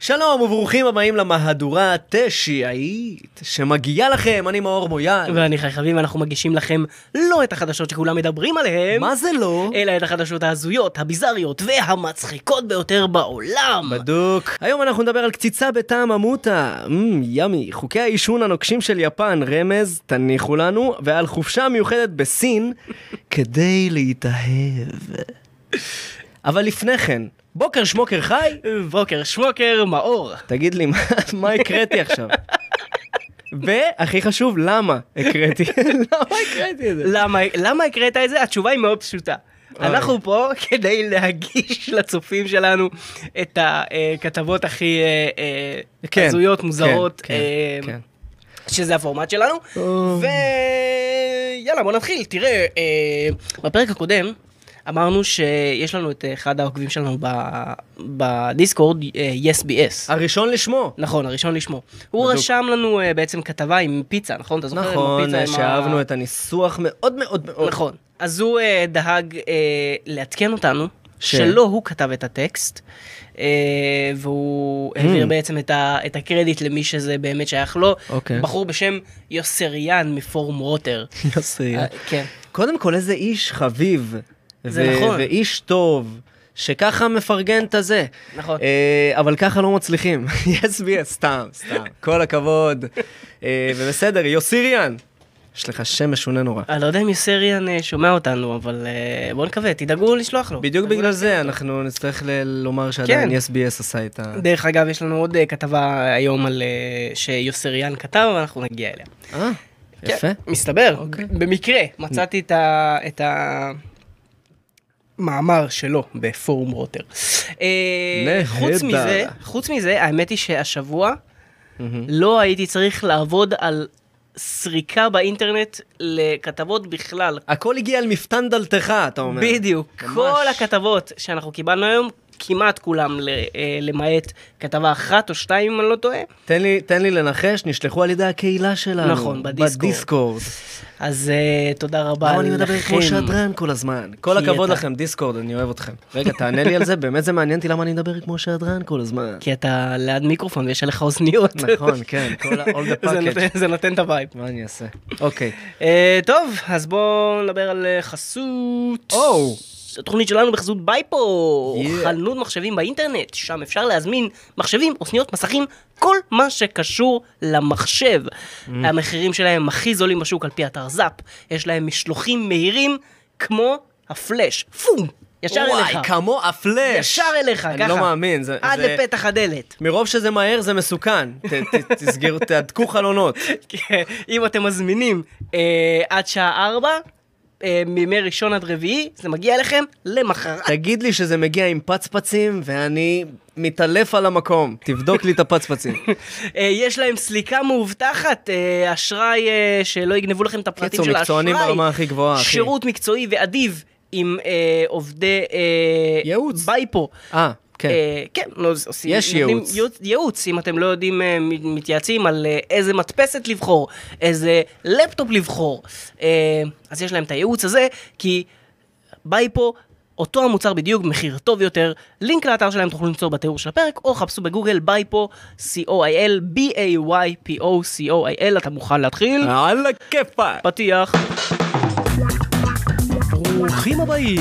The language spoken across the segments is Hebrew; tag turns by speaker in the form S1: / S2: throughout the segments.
S1: שלום וברוכים הבאים למהדורה התשיעית שמגיעה לכם, אני מאור מויאל.
S2: ואני חייבים, אנחנו מגישים לכם לא את החדשות שכולם מדברים עליהן,
S1: מה זה לא?
S2: אלא את החדשות ההזויות, הביזריות והמצחיקות ביותר בעולם.
S1: בדוק. היום אנחנו נדבר על קציצה בטעם המוטה. אמ, ימי. חוקי העישון הנוקשים של יפן, רמז, תניחו לנו, ועל חופשה מיוחדת בסין כדי להתאהב. אבל לפני כן, בוקר שמוקר חי,
S2: בוקר שמוקר מאור.
S1: תגיד לי, מה- מה הקראתי עכשיו? והכי חשוב, למה הקראתי? למה הקראתי את זה?
S2: למה, למה הקראת את זה? התשובה היא מאוד פשוטה.
S1: אוי.
S2: אנחנו פה כדי להגיש לצופים שלנו את הכתבות הכי אה, אה,
S1: כן,
S2: הזויות,
S1: כן,
S2: מוזרות,
S1: כן,
S2: אה,
S1: כן.
S2: שזה הפורמט שלנו.
S1: או.
S2: ויאללה, בוא נתחיל. תראה, אה, בפרק הקודם אמרנו שיש לנו את אחד העוקבים שלנו ב- בדיסקורד, אה, YesBS.
S1: הראשון לשמו.
S2: נכון, הראשון לשמו. הוא
S1: בדוק.
S2: רשם לנו אה, בעצם כתבה עם פיצה, נכון? אתה זוכר? עם הפיצה,
S1: נכון,
S2: עם ה-
S1: שאהבנו את הניסוח מאוד מאוד מאוד.
S2: נכון. אז הוא אה, דאג אה, לעדכן אותנו
S1: ש-
S2: ש... שלא הוא כתב את הטקסט, אה, והוא
S1: Mm.
S2: העביר בעצם את, ה, את הקרדיט למי שזה באמת שייך לו.
S1: אוקיי.
S2: בחור בשם יוסריאן מפורום רוטר.
S1: יוסי.
S2: אה, כן.
S1: קודם כל, איזה איש חביב.
S2: זה
S1: ו-
S2: נכון.
S1: ואיש טוב, שככה מפרגן את הזה.
S2: נכון.
S1: אה, אבל ככה לא מצליחים. יס בי, סתם, סתם. כל הכבוד. אה, ובסדר, יוסיריאן. יש לך שם משונה נורא.
S2: אני לא יודע אם יוסריאן אה, שומע אותנו, אבל אה, בואו נקווה, תדאגו לשלוח לו.
S1: בדיוק
S2: תדאגו
S1: בגלל זה אנחנו נצטרך ל- לומר שעדיין
S2: כן.
S1: יס בי אס עשה את ה...
S2: דרך אגב, יש לנו עוד אה, כתבה היום על אה, שיוסריאן כתב, ואנחנו נגיע אליה.
S1: אה, יפה.
S2: כן, מסתבר,
S1: אוקיי.
S2: במקרה מצאתי את ה... את ה... מאמר שלו בפורום רוטר. אה,
S1: נהדר.
S2: חוץ מזה, חוץ מזה, האמת היא שהשבוע לא הייתי צריך לעבוד על סריקה באינטרנט לכתבות בכלל.
S1: הכל הגיע על מפתן דלתך, אתה אומר.
S2: בדיוק,
S1: ממש.
S2: כל הכתבות שאנחנו קיבלנו היום, כמעט כולם, ל- אה, למעט כתבה אחת או שתיים, אם אני לא טועה.
S1: תן לי, תן לי לנחש, נשלחו על ידי הקהילה שלנו.
S2: נכון, בדיסקורד.
S1: בדיסקורד.
S2: אז אה, תודה רבה לכם.
S1: למה אני מדבר כמו שדרן כל הזמן? כל
S2: כי
S1: הכבוד
S2: אתה-
S1: לכם, דיסקורד, אני אוהב אתכם. רגע, תענה לי על זה, באמת זה מעניין אותי למה אני מדבר כמו שדרן כל הזמן.
S2: כי אתה ליד מיקרופון ויש עליך אוזניות.
S1: נכון, כן, כל ה- all the
S2: זה
S1: package.
S2: נותן- זה נותן את הווייב.
S1: מה אני אעשה? אוקיי.
S2: אה, טוב, אז בואו נדבר על אה, חסות.
S1: או.
S2: התוכנית שלנו בחסות בייפו,
S1: Yeah.
S2: חנות מחשבים באינטרנט, שם אפשר להזמין מחשבים, אוזניות, מסכים, כל מה שקשור למחשב.
S1: Mm.
S2: המחירים שלהם הכי זולים בשוק על פי אתר זאפ, יש להם משלוחים מהירים כמו הפלאש. פום! ישר
S1: וואי,
S2: אליך.
S1: כמו הפלאש.
S2: ישר אליך, ככה.
S1: אני לא מאמין, זה...
S2: עד
S1: זה-
S2: לפתח הדלת.
S1: מרוב שזה מהר זה מסוכן. ת- ת- תסגרו, תהדקו חלונות.
S2: כן, אם אתם מזמינים אה, עד שעה 4, אה, מימי ראשון עד רביעי, זה מגיע אליכם למחרת.
S1: תגיד לי שזה מגיע עם פצפצים, ואני מתעלף על המקום. תבדוק לי את הפצפצים.
S2: אה, יש להם סליקה מאובטחת, אה, אשראי אה, שלא יגנבו לכם את הפרטים
S1: קיצור,
S2: של האשראי.
S1: מקצוענים ברמה הכי גבוהה, אחי.
S2: שירות מקצועי ואדיב עם אה, עובדי... אה,
S1: ייעוץ.
S2: בייפו.
S1: אה, כן.
S2: אה, כן, לא, זה- עושים,
S1: יש
S2: נותנים
S1: ייעוץ.
S2: ייעוץ, אם אתם לא יודעים, אה, מ- מתייעצים על אה, איזה מדפסת לבחור, איזה לפטופ לבחור. אה, אז יש להם את הייעוץ הזה, כי ביי פה, אותו המוצר בדיוק, מחיר טוב יותר. לינק לאתר שלהם תוכלו למצוא בתיאור של הפרק, או חפשו בגוגל ביי פה, co.il, b-a-y-p-o, co.il, אתה מוכן להתחיל?
S1: על הכיפאק.
S2: פתיח.
S1: ברוכים הבאים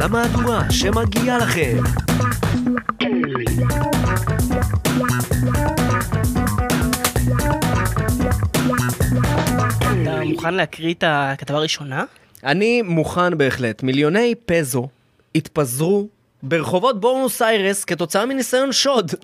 S1: למהדורה שמגיעה לכם.
S2: אתה מוכן להקריא את הכתבה הראשונה?
S1: אני מוכן בהחלט. מיליוני פזו התפזרו ברחובות בורנוס איירס כתוצאה מניסיון שוד.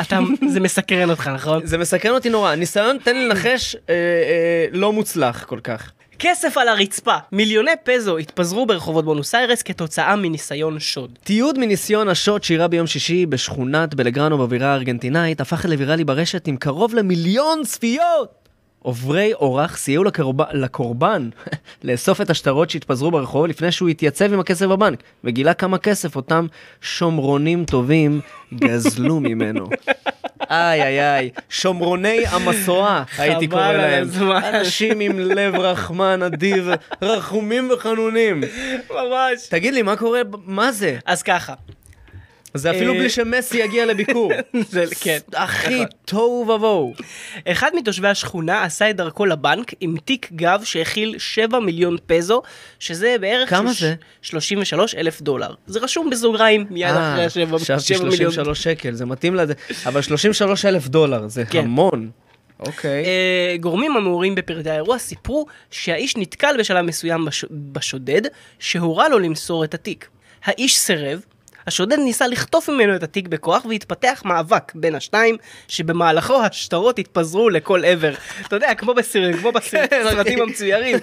S2: אתה, זה מסקרן אותך, נכון?
S1: זה מסקרן אותי נורא. ניסיון, תן לי לנחש, אה, אה, לא מוצלח כל כך.
S2: כסף על הרצפה. מיליוני פזו התפזרו ברחובות בונוס איירס כתוצאה מניסיון שוד.
S1: תיעוד מניסיון השוד שאירע ביום שישי בשכונת בלגרנו בבירה הארגנטינאית הפך לוויראלי ברשת עם קרוב למיליון צפיות! עוברי אורח סייעו לקורב... לקורבן לאסוף את השטרות שהתפזרו ברחוב לפני שהוא התייצב עם הכסף בבנק וגילה כמה כסף אותם שומרונים טובים גזלו ממנו. איי איי איי, שומרוני המסועה הייתי
S2: חבל
S1: קורא
S2: על
S1: להם.
S2: הזמן.
S1: אנשים עם לב רחמן אדיב, רחומים וחנונים.
S2: ממש.
S1: תגיד לי, מה קורה? ב- מה זה?
S2: אז ככה.
S1: זה אפילו
S2: אה,
S1: בלי שמסי יגיע לביקור.
S2: זה- כן,
S1: אחי,
S2: נכון.
S1: תוהו ובוהו.
S2: אחד מתושבי השכונה עשה את דרכו לבנק עם תיק גב שהכיל 7 מיליון פזו, שזה בערך...
S1: כמה
S2: שלוש-
S1: זה?
S2: 33 אלף דולר. זה רשום בסוגריים מיד אחרי
S1: אה, חשבתי
S2: ה-7 מיליון.
S1: 33 שקל, זה מתאים לזה. אבל 33 אלף דולר, זה
S2: כן.
S1: המון. אוקיי.
S2: אה, גורמים המעורים בפרטי האירוע סיפרו שהאיש נתקל בשלב מסוים בש... בשודד, שהורה לו למסור את התיק. האיש סירב, השודד ניסה לחטוף ממנו את התיק בכוח והתפתח מאבק בין השניים, שבמהלכו השטרות התפזרו לכל עבר. אתה יודע, כמו בסרטים כמו
S1: כן, אוקיי.
S2: בסרטים המצוירים,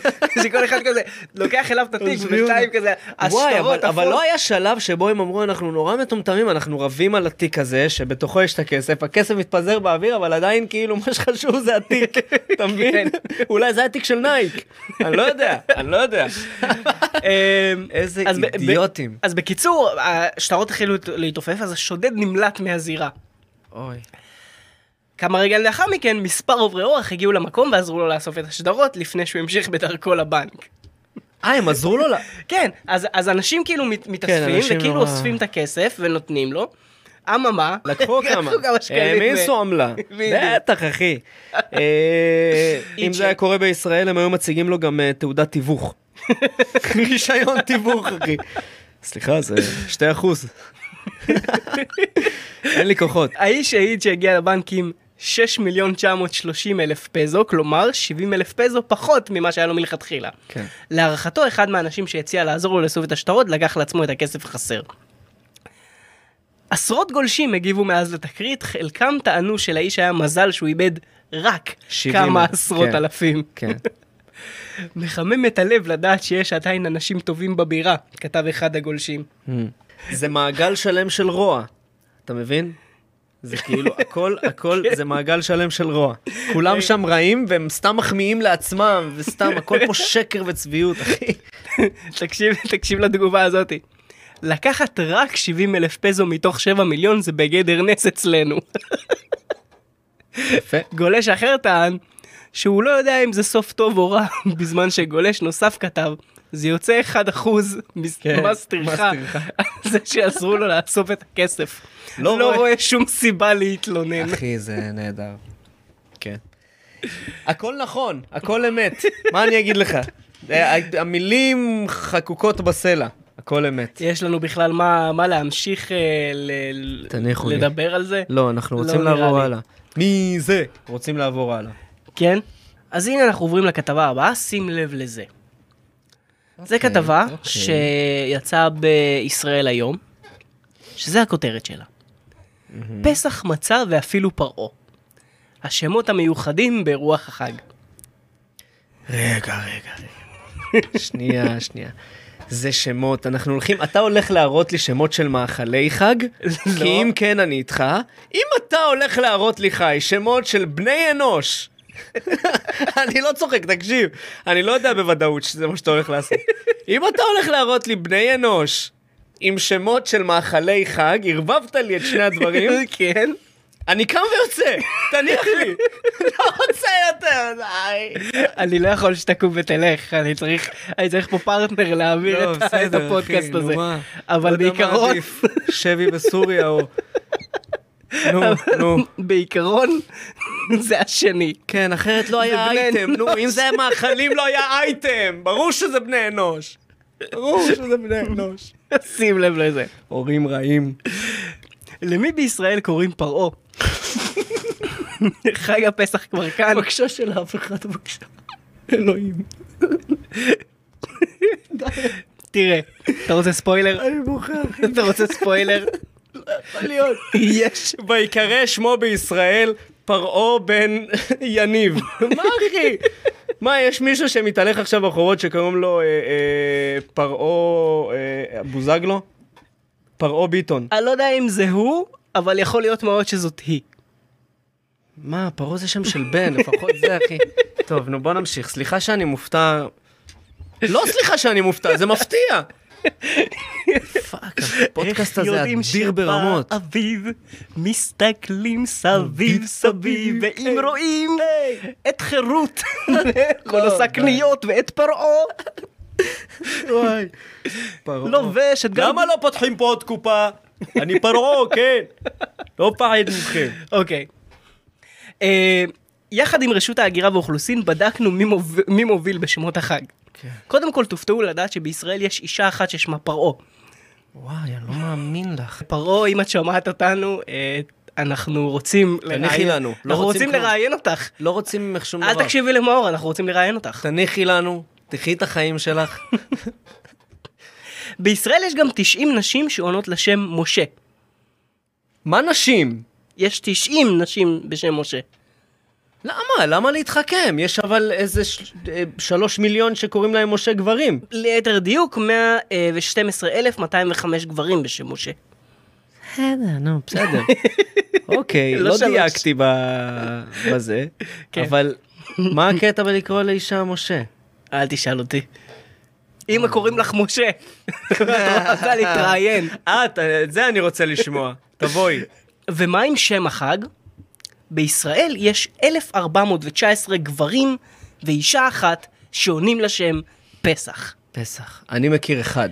S2: שכל אחד כזה לוקח אליו את התיק
S1: עוזבים
S2: ובינתיים
S1: אותו.
S2: כזה,
S1: וואי, אבל-
S2: אה, השטרות
S1: אבל
S2: עפו.
S1: לא היה שלב שבו הם אמרו, אנחנו נורא מטומטמים, אנחנו רבים על התיק הזה, שבתוכו יש את הכסף, הכסף מתפזר באוויר, אבל עדיין כאילו מה שחשוב זה התיק,
S2: כן.
S1: אתה מבין? אולי זה התיק של נייק, אני לא יודע, אני לא יודע.
S2: אמ,
S1: איזה
S2: אז ב- ב-
S1: אידיוטים.
S2: אז בקיצור, השטרות החלו להתעופף, אז השודד נמלט מהזירה.
S1: אוי.
S2: כמה רגעים לאחר מכן, מספר עוברי אורח הגיעו למקום ועזרו לו לאסוף את השטרות לפני שהוא המשיך בדרכו לבנק.
S1: אה, הם עזרו לו ל...
S2: כן, אז, אז אנשים כאילו מת, מתאספים,
S1: כן, אנשים
S2: וכאילו
S1: נורא-
S2: אוספים את הכסף ונותנים לו. אממה,
S1: לקחו כמה,
S2: שקלים.
S1: העמיסו עמלה,
S2: בדיוק.
S1: בטח אחי. אה, אם
S2: איצ'ק.
S1: זה היה קורה בישראל הם היו מציגים לו גם אה, תעודת תיווך. רישיון תיווך אחי. סליחה זה 2 אחוז. אין לי כוחות.
S2: האיש העיד שהגיע לבנק עם 6 מיליון 930 אלף פזו, כלומר 70 אלף פזו פחות ממה שהיה לו מלכתחילה.
S1: כן.
S2: להערכתו, אחד מהאנשים שהציע לעזור לו לאסוף את השטרות לקח לעצמו את הכסף החסר. עשרות גולשים הגיבו מאז לתקרית, חלקם טענו שלאיש היה מזל שהוא איבד רק
S1: 70,
S2: כמה עשרות
S1: כן.
S2: אלפים.
S1: כן.
S2: מחמם את הלב לדעת שיש עדיין אנשים טובים בבירה, כתב אחד הגולשים.
S1: Hmm. זה מעגל שלם של רוע, אתה מבין? זה כאילו הכל, הכל, זה מעגל שלם של רוע. כולם שם רעים והם סתם מחמיאים לעצמם, וסתם הכל פה שקר וצביעות, אחי.
S2: תקשיב, תקשיב לתגובה הזאתי. לקחת רק 70 אלף פזו מתוך 7 מיליון זה בגדר נס אצלנו.
S1: יפה.
S2: גולש אחר טען שהוא לא יודע אם זה סוף טוב או רע, בזמן שגולש נוסף כתב, זה יוצא 1% מס-
S1: כן, מס
S2: מס טרחה,
S1: טרחה.
S2: על זה שעזרו לו לאסוף את הכסף.
S1: לא
S2: לא
S1: רואה.
S2: רואה שום סיבה להתלונן.
S1: אחי, זה נהדר. כן. הכל נכון, הכל אמת. מה אני אגיד לך? אה, המילים חקוקות בסלע, הכל אמת.
S2: יש לנו בכלל מה, מה להמשיך אה, ל- ל-
S1: תניחו לי.
S2: לדבר על זה?
S1: לא, אנחנו
S2: לא
S1: רוצים
S2: נראה
S1: לעבור
S2: לי.
S1: הלאה. מי זה? רוצים לעבור הלאה.
S2: כן? אז הנה אנחנו עוברים לכתבה הבאה, שים לב לזה.
S1: אוקיי,
S2: זו כתבה שיצאה בישראל היום, שזה הכותרת שלה. פסח מצה ואפילו פרעה. השמות המיוחדים ברוח החג.
S1: רגע, רגע, רגע. שנייה, שנייה. זה שמות, אנחנו הולכים, אתה הולך להראות לי שמות של מאכלי חג?
S2: לא.
S1: כי אם כן, אני איתך. אם אתה הולך להראות לי חי שמות של בני אנוש, אני לא צוחק, תקשיב, אני לא יודע בוודאות שזה מה שאתה הולך לעשות. אם אתה הולך להראות לי בני אנוש עם שמות של מאכלי חג, ערבבת לי את שני הדברים,
S2: כן?
S1: אני קם ויוצא, תניח לי. לא רוצה יותר, די.
S2: אני לא יכול שתקום ותלך, אני צריך, אני צריך פה פרטנר להעביר
S1: לא,
S2: את, ה- את
S1: בסדר,
S2: הפודקאסט
S1: אחי, נו
S2: הזה.
S1: מה?
S2: אבל
S1: לא יודע מה
S2: בעיקרון,
S1: עדיף, שבי בסוריה או... נו, נו.
S2: בעיקרון, זה השני.
S1: כן, אחרת לא היה
S2: בני
S1: אייטם. נו,
S2: אנוש.
S1: אם זה היה מאכלים לא היה אייטם. ברור שזה בני אנוש. ברור שזה בני אנוש.
S2: שים לב לזה.
S1: הורים רעים.
S2: למי בישראל קוראים פרעה? חג הפסח כבר כאן.
S1: בבקשה של אף אחד, בבקשה. אלוהים.
S2: תראה, אתה רוצה ספוילר?
S1: אני בוכה, אחי.
S2: אתה רוצה ספוילר?
S1: יכול להיות.
S2: יש.
S1: ויקרא שמו בישראל פרעה בן יניב. מה אחי? מה, יש מישהו שמתהלך עכשיו ברחובות שקוראים לו אה, אה, פרעה אה, בוזגלו? פרעה ביטון.
S2: אני לא יודע אם זה הוא, אבל יכול להיות מאוד שזאת היא.
S1: מה, פרעה זה שם של בן, לפחות זה, אחי. טוב, נו בוא נמשיך. סליחה שאני מופתע. לא סליחה שאני מופתע, זה מפתיע. פאק, הפודקאסט הזה
S2: יודעים
S1: אדיר ברמות.
S2: אביב, מסתכלים סביב סביב,
S1: אה.
S2: ואם רואים את חירות,
S1: לא,
S2: כל הקניות ואת פרעה,
S1: וואי. פרעה.
S2: לובש את גל...
S1: למה לא פותחים פה עוד קופה? אני פרעה, כן. לא פחד מכם.
S2: אוקיי. אה, יחד עם רשות ההגירה והאוכלוסין בדקנו מי מוב- מי מוביל בשמות החג.
S1: כן.
S2: קודם כל תופתעו לדעת שבישראל יש אישה אחת ששמה פרעה.
S1: וואי, אני לא מאמין לך.
S2: פרעה, אם את שומעת אותנו, אה, אנחנו רוצים
S1: תניחי לנו, לא
S2: אנחנו
S1: רוצים
S2: רוצים
S1: כלום.
S2: לראיין אותך.
S1: לא רוצים ממך שום דבר.
S2: אל תקשיבי למאור, אנחנו רוצים לראיין אותך.
S1: תניחי לנו, תחי את החיים שלך.
S2: בישראל יש גם 90 נשים שעונות לשם משה.
S1: מה נשים?
S2: יש 90 נשים בשם משה.
S1: למה? למה להתחכם? יש אבל איזה של- אה, שלוש מיליון שקוראים להם משה גברים.
S2: ליתר דיוק, אה, 112,205 גברים בשם משה.
S1: בסדר, נו, בסדר. אוקיי,
S2: לא
S1: לא
S2: שלוש.
S1: דייקתי ב- בזה,
S2: כן.
S1: אבל מה הקטע בלקרוא לאישה משה?
S2: אל תשאל אותי. אמא קוראים לך משה, את רוצה להתראיין.
S1: אה, את את זה אני רוצה לשמוע. תבואי.
S2: ומה עם שם החג? בישראל יש 1,419 גברים ואישה אחת שעונים לשם פסח.
S1: פסח. אני מכיר אחד.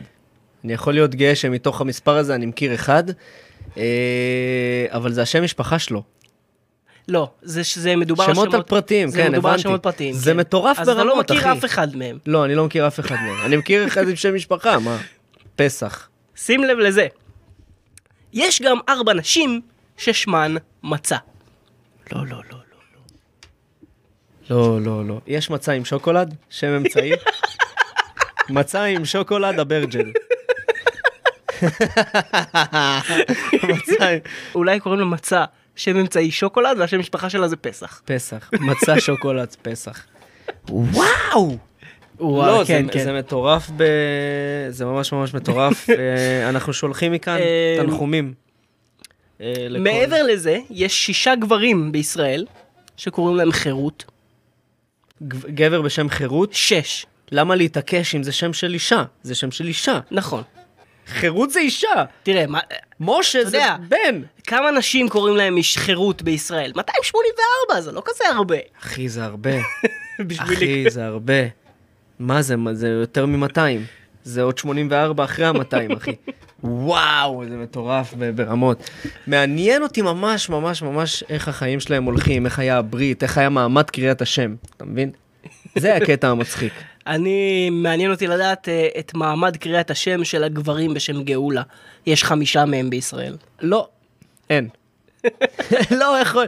S1: אני יכול להיות גאה שמתוך המספר הזה אני מכיר אחד, אה, אבל זה השם משפחה שלו.
S2: לא, זה שזה מדובר על
S1: שמות על פרטים,
S2: זה
S1: כן,
S2: מדובר על
S1: הבנתי.
S2: שמות פרטיים.
S1: זה
S2: כן.
S1: מטורף
S2: אז אתה לא
S1: ברמות,
S2: מכיר
S1: אחי.
S2: אף אחד מהם.
S1: לא, אני לא מכיר אף אחד מהם. אני מכיר אחד עם שם משפחה, מה? פסח.
S2: שים לב לזה. יש גם ארבע נשים ששמן מצה. לא, לא, לא, לא.
S1: לא, לא, לא. יש מצה עם שוקולד? שם אמצעי? מצה עם שוקולד הברג'ל. מצה עם...
S2: אולי קוראים לו מצה שם אמצעי שוקולד והשם משפחה שלה זה פסח.
S1: פסח. מצה שוקולד פסח. וואו!
S2: וואו,
S1: לא,
S2: כן,
S1: זה,
S2: כן.
S1: זה מטורף, ב... זה ממש ממש מטורף. אה, אנחנו שולחים מכאן
S2: אה,
S1: תנחומים. אה, לכל-
S2: מעבר לזה, יש שישה גברים בישראל שקוראים להם חירות.
S1: גב- גבר בשם חירות,
S2: שש,
S1: למה להתעקש אם זה שם של אישה? זה שם של אישה.
S2: נכון.
S1: חירות זה אישה!
S2: תראה, מה,
S1: משה זה
S2: יודע.
S1: בן!
S2: כמה נשים קוראים להם איש חירות בישראל? 284, זה לא כזה הרבה.
S1: אחי, זה הרבה.
S2: בשבילי.
S1: אחי, זה הרבה. מה זה, מה זה יותר מ-200. זה עוד 84 אחרי ה-200, אחי. וואו, זה מטורף ב- ברמות. מעניין אותי ממש, ממש, ממש איך החיים שלהם הולכים, איך היה הברית, איך היה מעמד קריאת השם, אתה מבין? זה הקטע המצחיק.
S2: אני, מעניין אותי לדעת אה, את מעמד קריאת השם של הגברים בשם גאולה. יש חמישה מהם בישראל.
S1: לא, אין. לא יכול...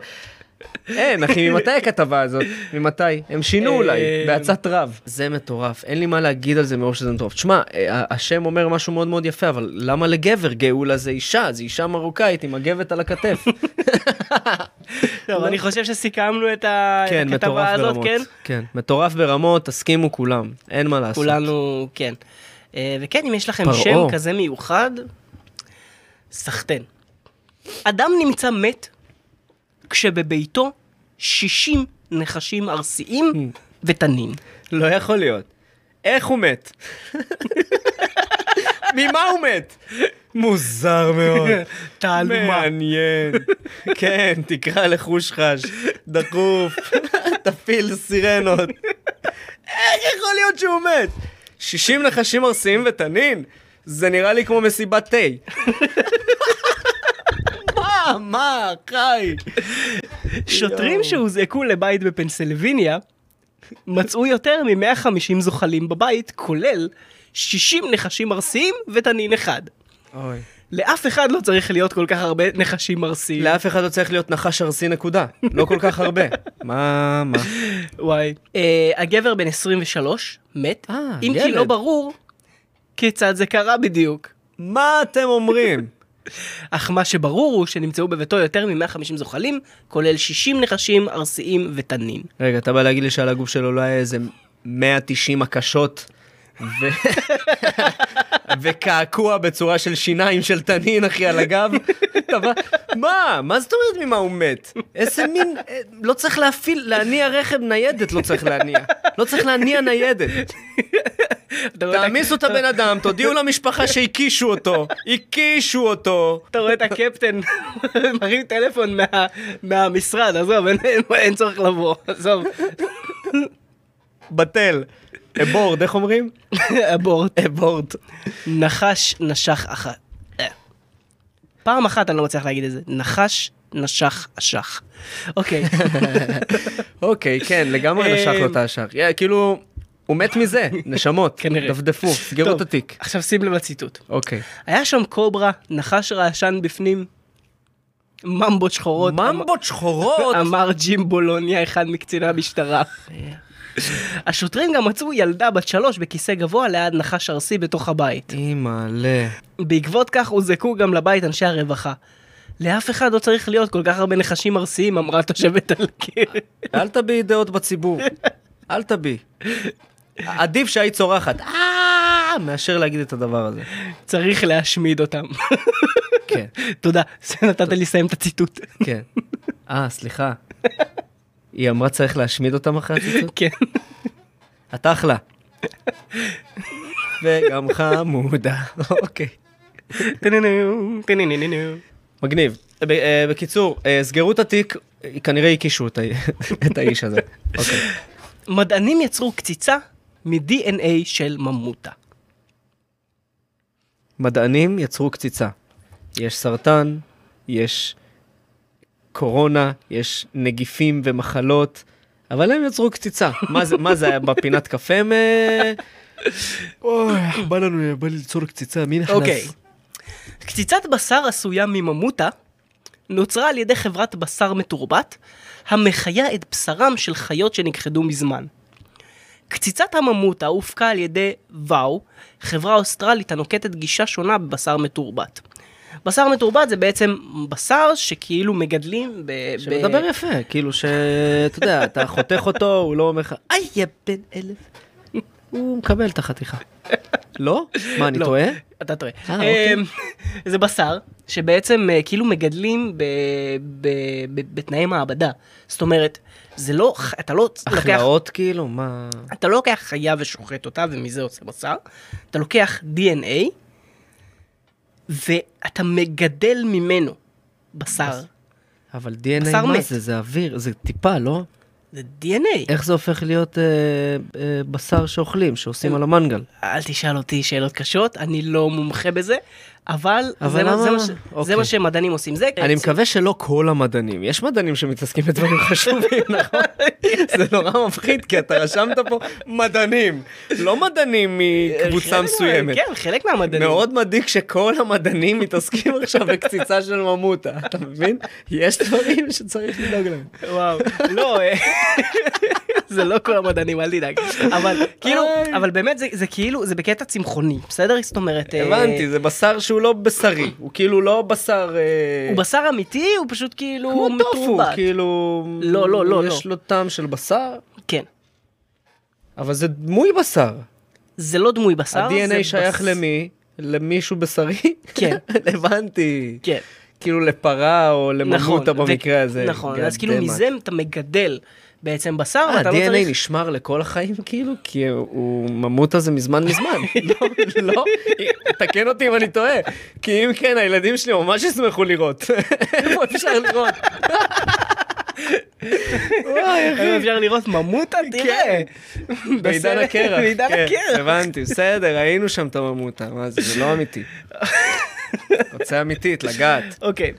S1: אין, אחי, ממתי הכתבה הזאת? ממתי? הם שינו אולי,
S2: אה,
S1: בעצת רב. זה מטורף, אין לי מה להגיד על זה מרוב שזה מטורף. תשמע, אה, השם אומר משהו מאוד מאוד יפה, אבל למה לגבר? גאולה זה אישה, זה אישה מרוקאית עם מגבת על הכתף.
S2: טוב, אני חושב שסיכמנו את ה-
S1: כן,
S2: את
S1: מטורף
S2: הכתבה הזאת,
S1: ברמות.
S2: כן?
S1: כן, מטורף ברמות, תסכימו כולם, אין מה לעשות.
S2: כולנו, כן. אה, וכן, אם יש לכם
S1: פרעה.
S2: שם כזה מיוחד, סחטיין. אדם נמצא מת כשבביתו 60 נחשים ארסיים ותנין.
S1: לא יכול להיות. איך הוא מת? ממה הוא מת? מוזר מאוד.
S2: תעלומה.
S1: מעניין. כן, תקרא לחושחש, דחוף, תפעיל סירנות. איך יכול להיות שהוא מת? 60 נחשים ארסיים ותנין? זה נראה לי כמו מסיבת תה. מה, מה, חי?
S2: שוטרים
S1: יואו.
S2: שהוזעקו לבית בפנסילבניה מצאו יותר מ-150 זוחלים בבית, כולל 60 נחשים ארסיים ותנין אחד.
S1: אוי.
S2: לאף אחד לא צריך להיות כל כך הרבה נחשים ארסיים.
S1: לאף אחד לא צריך להיות נחש ארסי נקודה, לא כל כך הרבה. מה, מה?
S2: וואי. אה, הגבר בן 23 מת,
S1: אה,
S2: אם כי
S1: ילד.
S2: לא ברור כיצד זה קרה בדיוק.
S1: מה אתם אומרים?
S2: אך מה שברור הוא שנמצאו בביתו יותר מ-150 זוחלים, כולל 60 נחשים ארסיים ותנין.
S1: רגע, אתה בא להגיד לי שעל הגוף שלו לא היה איזה 190 הקשות ו... וקעקוע בצורה של שיניים של תנין, אחי, על הגב? אתה בא... מה? מה זאת אומרת ממה הוא מת? איזה מין... אה, לא צריך להפעיל, להניע רכב ניידת לא צריך להניע. לא צריך להניע ניידת.
S2: אתה רואה את ה-
S1: תעמיסו את הבן אדם, תודיעו למשפחה שהקישו אותו. הקישו אותו.
S2: אתה רואה את הקפטן מרים טלפון מה- מהמשרד, עזוב, אין- אין- אין צורך לבוא, עזוב,
S1: בטל. אבורד, איך אומרים?
S2: אבורט.
S1: אבורד.
S2: נחש נשך אחת. אה. פעם אחת אני לא מצליח להגיד את זה. נחש, נשך, אשך. אוקיי.
S1: אוקיי, כן, לגמרי נשך לו את האשך. יא, כאילו, הוא מת מזה, נשמות,
S2: כנראה.
S1: דפדפו, סגרו את
S2: טוב,
S1: התיק.
S2: עכשיו שים לב לציטוט.
S1: אוקיי.
S2: היה שם קוברה, נחש רעשן בפנים, ממבות שחורות.
S1: ממבות שחורות!
S2: אמר- אמר ג'ים בולוניה, אחד מקציני המשטרה. השוטרים גם מצאו ילדה בת שלוש בכיסא גבוה ליד נחש ארסי בתוך הבית.
S1: אימא'לה.
S2: בעקבות כך הוזעקו גם לבית אנשי הרווחה. לאף אחד לא צריך להיות כל כך הרבה נחשים ארסיים, אמרה תושבת על הקיר.
S1: אל תביעי דעות בציבור. אל תביעי. עדיף שהיית צורחת, "אה", מאשר להגיד את הדבר הזה.
S2: צריך להשמיד אותם.
S1: כן,
S2: תודה, נתת לי לסיים את הציטוט.
S1: כן. אה, סליחה. היא אמרה צריך להשמיד אותם אחרי הציטוט?
S2: כן.
S1: את אחלה. וגם חמודה. אוקיי.
S2: טננו, טנננו.
S1: מגניב. ב- אה, בקיצור, אה, סגרו את התיק, אה, כנראה הקישו את ה- את האיש הזה. אוקיי.
S2: מדענים יצרו קציצה מ-DNA של ממותה.
S1: מדענים יצרו קציצה. יש סרטן, יש קורונה, יש נגיפים ומחלות, אבל הם יצרו קציצה. מה זה, מה זה היה בפינת קפה? מ... אוי, בא לנו, בא לי ליצור קציצה, מי נכנס?
S2: אוקיי. קציצת בשר עשויה מממותה נוצרה על ידי חברת בשר מתורבת, המחיה את בשרם של חיות שנכחדו מזמן. קציצת הממותה הופקה על ידי וואו, חברה אוסטרלית הנוקטת גישה שונה בבשר מתורבת. בשר מתורבת זה בעצם בשר שכאילו מגדלים ב...
S1: שמדבר
S2: ב-
S1: יפה, כאילו שאתה יודע, אתה חותך אותו, הוא לא אומר לך, איי, יא בן אלף. הוא מקבל את החתיכה. לא? מה, אני
S2: לא,
S1: טועה?
S2: אתה טועה.
S1: אה, אוקיי.
S2: אמ, זה בשר שבעצם אה, כאילו מגדלים ב- ב- ב- בתנאי מעבדה. זאת אומרת, זה לא, ח- אתה לא לוקח
S1: הכלאות כאילו? מה?
S2: אתה לא לוקח חיה ושוחט אותה ומזה עושה בשר, אתה לוקח DNA ואתה מגדל ממנו בשר.
S1: אבל DNA,
S2: בשר
S1: מה
S2: מת.
S1: זה? זה אוויר, זה טיפה, לא?
S2: זה DNA.
S1: איך זה הופך להיות אה, אה, בשר שאוכלים, שעושים על המנגל?
S2: אל תשאל אותי שאלות קשות, אני לא מומחה בזה, אבל,
S1: אבל
S2: זה, מה,
S1: למה-
S2: זה, מה ש...
S1: אוקיי.
S2: זה מה שמדענים עושים. זה
S1: אני מקווה
S2: אה.
S1: שלא כל המדענים, יש מדענים שמתעסקים בדברים חשובים, נכון? זה נורא מפחיד, כי אתה רשמת פה מדענים, לא מדענים מקבוצה
S2: חלק
S1: מסוימת.
S2: מה... כן, חלק מהמדענים.
S1: מאוד מדאיג שכל המדענים מתעסקים עכשיו בקציצה של ממותה, אתה מבין? יש דברים שצריך לדאוג להם.
S2: וואו, לא, אה, זה לא כל המדענים, אל תדאג. אבל כאילו,
S1: איי.
S2: אבל באמת זה, זה כאילו, זה בקטע צמחוני, בסדר? זאת אומרת... אה,
S1: הבנתי, זה בשר שהוא לא בשרי, הוא כאילו לא בשר... אה,
S2: הוא בשר אמיתי, הוא פשוט כאילו
S1: כמו טופו,
S2: מתורבת.
S1: כאילו...
S2: לא, לא, לא,
S1: יש
S2: לא.
S1: לו טעם של בשר,
S2: כן.
S1: אבל זה דמוי בשר.
S2: זה לא דמוי בשר.
S1: ה-DNA
S2: אה, זה
S1: שייך
S2: בס-
S1: למי? למישהו בשרי?
S2: כן.
S1: הבנתי.
S2: כן,
S1: כאילו לפרה או
S2: נכון.
S1: לממותה
S2: ו-
S1: במקרה הזה.
S2: נכון,
S1: God
S2: אז כאילו
S1: damn it.
S2: מזה אתה מגדל בעצם בשר,
S1: אה,
S2: ואתה לא
S1: ה-DNA
S2: צריך...
S1: נשמר לכל החיים כאילו? כי הוא ממותה זה מזמן מזמן. לא, לא, תקן אותי אם אני טועה. כי אם כן, הילדים שלי ממש ישמחו לראות. איפה אפשר לראות? וואי, אחי.
S2: האם אה, אפשר לראות ממותה?
S1: כן.
S2: תראה.
S1: בעידן
S2: בסדר,
S1: הקרח.
S2: בעידן
S1: כן,
S2: הקרח.
S1: הבנתי, בסדר, ראינו שם את הממותה, מה זה, זה לא אמיתי. רוצה אמיתית, לגעת.
S2: אוקיי.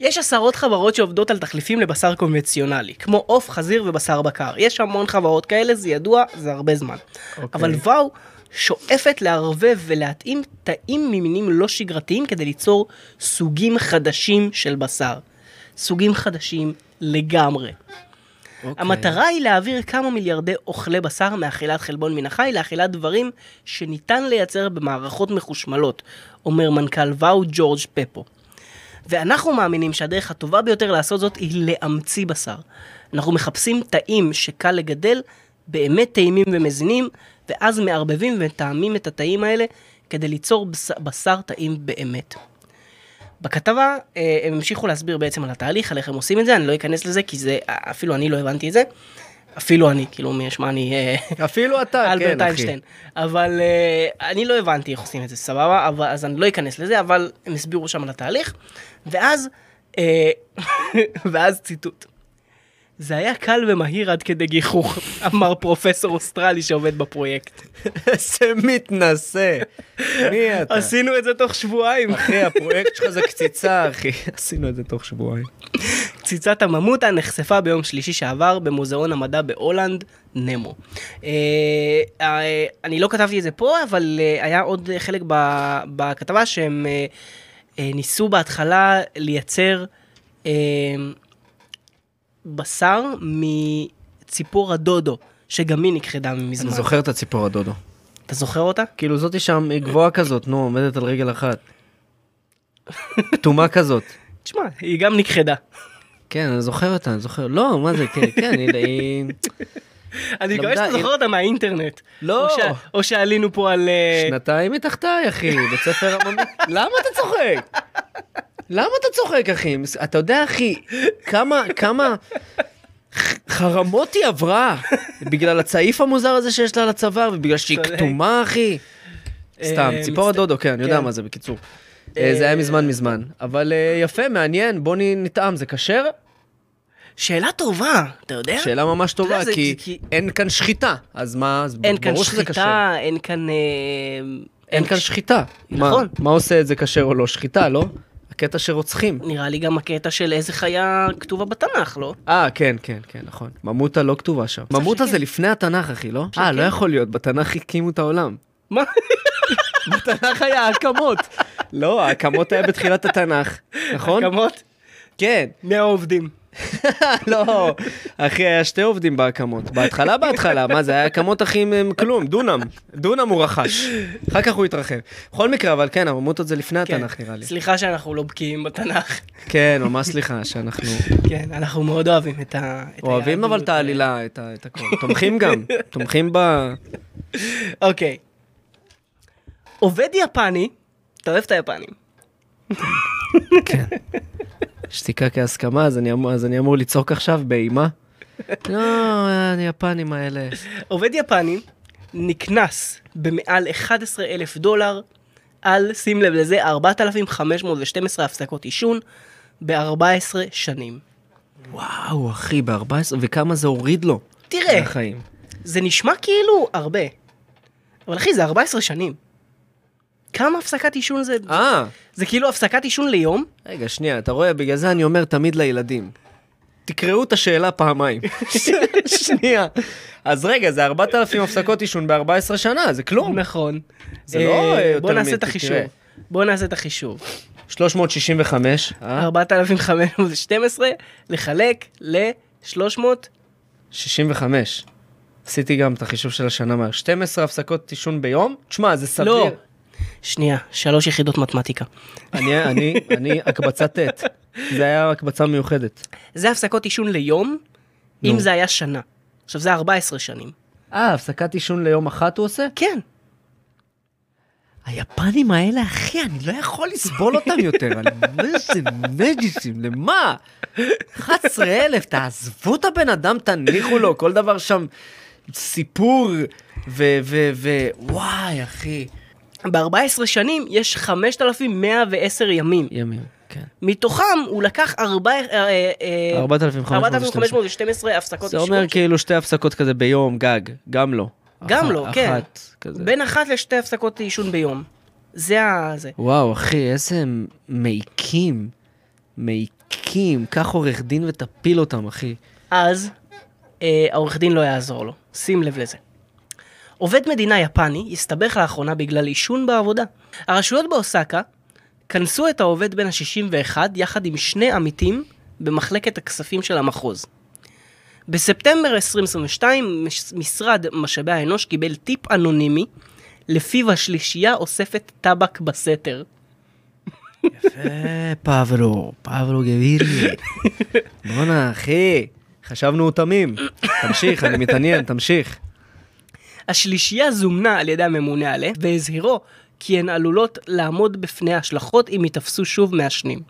S2: יש עשרות חברות שעובדות על תחליפים לבשר קונבנציונלי, כמו עוף, חזיר ובשר בקר. יש המון חברות כאלה, זה ידוע, זה הרבה זמן.
S1: אוקיי.
S2: אבל וואו שואפת לערבב ולהתאים תאים ממינים לא שגרתיים כדי ליצור סוגים חדשים של בשר. סוגים חדשים לגמרי.
S1: אוקיי.
S2: המטרה היא להעביר כמה מיליארדי אוכלי בשר מאכילת חלבון מן החי לאכילת דברים שניתן לייצר במערכות מחושמלות, אומר מנכ"ל ואו ג'ורג' פפו. ואנחנו מאמינים שהדרך הטובה ביותר לעשות זאת היא להמציא בשר. אנחנו מחפשים תאים שקל לגדל, באמת טעימים ומזינים, ואז מערבבים וטעמים את התאים האלה כדי ליצור בשר, בשר טעים באמת. בכתבה אה, הם המשיכו להסביר בעצם על התהליך, על איך הם עושים את זה, אני לא אכנס לזה כי זה, אה, אפילו אני לא הבנתי את זה. אפילו אני, כאילו, מי ישמע אני... אה,
S1: אפילו אתה,
S2: אלברט
S1: כן, אחי.
S2: איינשטיין. אבל אה, אני לא הבנתי איך עושים את זה, סבבה? אבל- אז אני לא אכנס לזה, אבל הם הסבירו שם על התהליך. ואז, אה, ואז ציטוט. זה היה קל ומהיר עד כדי גיחוך, אמר פרופסור אוסטרלי שעובד בפרויקט.
S1: איזה מתנשא. מי אתה?
S2: עשינו את זה תוך שבועיים.
S1: אחי, הפרויקט שלך זה קציצה, אחי. עשינו את זה תוך שבועיים.
S2: קציצת הממותה נחשפה ביום שלישי שעבר במוזיאון המדע בהולנד, נמו. אה, אה, אני לא כתבתי את זה פה, אבל אה, היה עוד חלק ב- בכתבה שהם אה, אה, ניסו בהתחלה לייצר אה, בשר מציפור הדודו, שגם היא נכחדה
S1: אני
S2: מזמן.
S1: זוכר את הציפור הדודו.
S2: אתה זוכר אותה?
S1: כאילו זאתי שם, היא גבוהה כזאת, נו, עומדת על רגל אחת. כתומה כזאת.
S2: תשמע, היא גם נכחדה.
S1: כן, אני זוכר אותה, אני זוכר. לא, מה זה, כן, כן, היא- היא...
S2: אני מקווה
S1: למדה,
S2: שאתה זוכר אותה מהאינטרנט.
S1: לא.
S2: או שה- או שעלינו פה על... אה,
S1: שנתיים מתחתיי, אחי, בית ספר עממי. למה אתה צוחק? למה אתה צוחק, אחי? מס- אתה יודע, אחי, כמה, כמה ח- חרמות היא עברה בגלל הצעיף המוזר הזה שיש לה על הצוואר, ובגלל שהיא
S2: צודק.
S1: כתומה, אחי. סתם,
S2: אה,
S1: ציפור
S2: מצט-
S1: הדודו, כן, אני יודע
S2: כן.
S1: מה זה, בקיצור. אה, זה היה מזמן מזמן. אבל אה, יפה, מעניין, בוא נ- נטעם, זה כשר?
S2: אה? שאלה טובה, אתה יודע?
S1: שאלה ממש
S2: יודע,
S1: טובה,
S2: זה-
S1: כי
S2: זה- כי-
S1: אין כאן שחיטה, אז מה, אז
S2: אין כאן
S1: ברור שזה כשר.
S2: שחיטה, אין כאן... אה,
S1: אין כאן שחיטה.
S2: נכון.
S1: אוקיי. מה, מה עושה את זה כשר או לא? שחיטה, לא? הקטע שרוצחים.
S2: נראה לי גם הקטע של איזה חיה כתובה בתנ"ך, לא?
S1: אה, כן, כן, כן, נכון. ממותה לא כתובה שם. ממותה
S2: שכן.
S1: זה לפני התנ"ך, אחי, לא? אה, לא יכול להיות, בתנ"ך הקימו את העולם.
S2: מה?
S1: בתנ"ך היה הקמות. לא, ההקמות היה בתחילת התנ"ך, נכון?
S2: הקמות?
S1: כן.
S2: 100 עובדים.
S1: לא, אחי, היה שתי עובדים בהקמות. בהתחלה, בהתחלה, מה זה, היה הקמות אחי עם עם כלום, דונם. דונם הוא רכש. אחר כך הוא התרחב. בכל מקרה, אבל כן, הממותות זה לפני
S2: כן.
S1: התנ"ך, נראה לי.
S2: סליחה שאנחנו לא בקיאים בתנ"ך.
S1: כן, ממש סליחה שאנחנו
S2: כן, אנחנו מאוד אוהבים את ה... את
S1: אוהבים אבל
S2: היהדות. אה.
S1: את העלילה, את ה- את הכל. תומכים גם, תומכים ב...
S2: אוקיי. עובד יפני, אתה אוהב את היפנים.
S1: שתיקה כהסכמה, אז אני אמור- אז אני אמור לצעוק עכשיו באימה? לא, היפנים האלה.
S2: עובד יפני נקנס במעל 11 אלף דולר על, שים לב לזה, 4,512 הפסקות עישון ב-14 שנים.
S1: וואו, אחי, ב-14, וכמה זה הוריד לו.
S2: תראה.
S1: מהחיים.
S2: זה נשמע כאילו הרבה, אבל אחי, זה 14 שנים. כמה הפסקת עישון זה?
S1: אה,
S2: זה כאילו הפסקת עישון ליום?
S1: רגע, שנייה, אתה רואה, בגלל זה אני אומר תמיד לילדים. תקראו את השאלה פעמיים. שנייה. אז רגע, זה 4,000 הפסקות עישון ב-14 שנה, זה כלום.
S2: נכון.
S1: זה לא, אה,
S2: בוא
S1: יותר
S2: נעשה
S1: מ-
S2: את החישוב.
S1: תראה.
S2: בוא נעשה את החישוב.
S1: 365, אה?
S2: 4,512 לחלק ל-300
S1: 65. עשיתי גם את החישוב של השנה מהר. 12 הפסקות עישון ביום? תשמע, זה סביר.
S2: לא. שנייה, שלוש יחידות מתמטיקה.
S1: אני, אני, אני הקבצה ט'. זה היה הקבצה מיוחדת.
S2: זה הפסקות עישון ליום, אם
S1: נו.
S2: זה היה שנה. עכשיו זה 14 שנים.
S1: אה, הפסקת עישון ליום אחת הוא עושה?
S2: כן.
S1: היפנים האלה, אחי, אני לא יכול לסבול אותם יותר. אני אומר, זה נג'יסים, למה? 11,000, תעזבו את הבן אדם, תניחו לו, כל דבר שם סיפור, ו... ו... ו... וואי, אחי.
S2: ב-14 שנים יש 5,110 ימים.
S1: ימים, כן.
S2: מתוכם הוא לקח ארבע- אה, אה,
S1: 4,512.
S2: 4,512 הפסקות
S1: זה
S2: אישיות.
S1: אומר כאילו שתי הפסקות כזה ביום גג, גם לא.
S2: גם
S1: אח-
S2: לא, כן.
S1: אחת כזה.
S2: בין אחת לשתי הפסקות עישון ביום. זה ה... זה.
S1: וואו, אחי, איזה הם מעיקים. מעיקים. קח עורך דין ותפיל אותם, אחי.
S2: אז אה, העורך דין לא יעזור לו. שים לב לזה. עובד מדינה יפני הסתבך לאחרונה בגלל עישון בעבודה. הרשויות באוסקה כנסו את העובד בן ה-61 יחד עם שני עמיתים במחלקת הכספים של המחוז. בספטמבר 2022 מש- משרד משאבי האנוש קיבל טיפ אנונימי לפיו השלישייה אוספת טבק בסתר.
S1: אה, פבלו, פבלו גבירי. בואנה, אחי, חשבנו הוא תמים. תמשיך, אני מתעניין, תמשיך.
S2: השלישייה זומנה על ידי הממונה עליה והזהירו כי הן עלולות לעמוד בפני השלכות אם ייתפסו שוב מעשנים.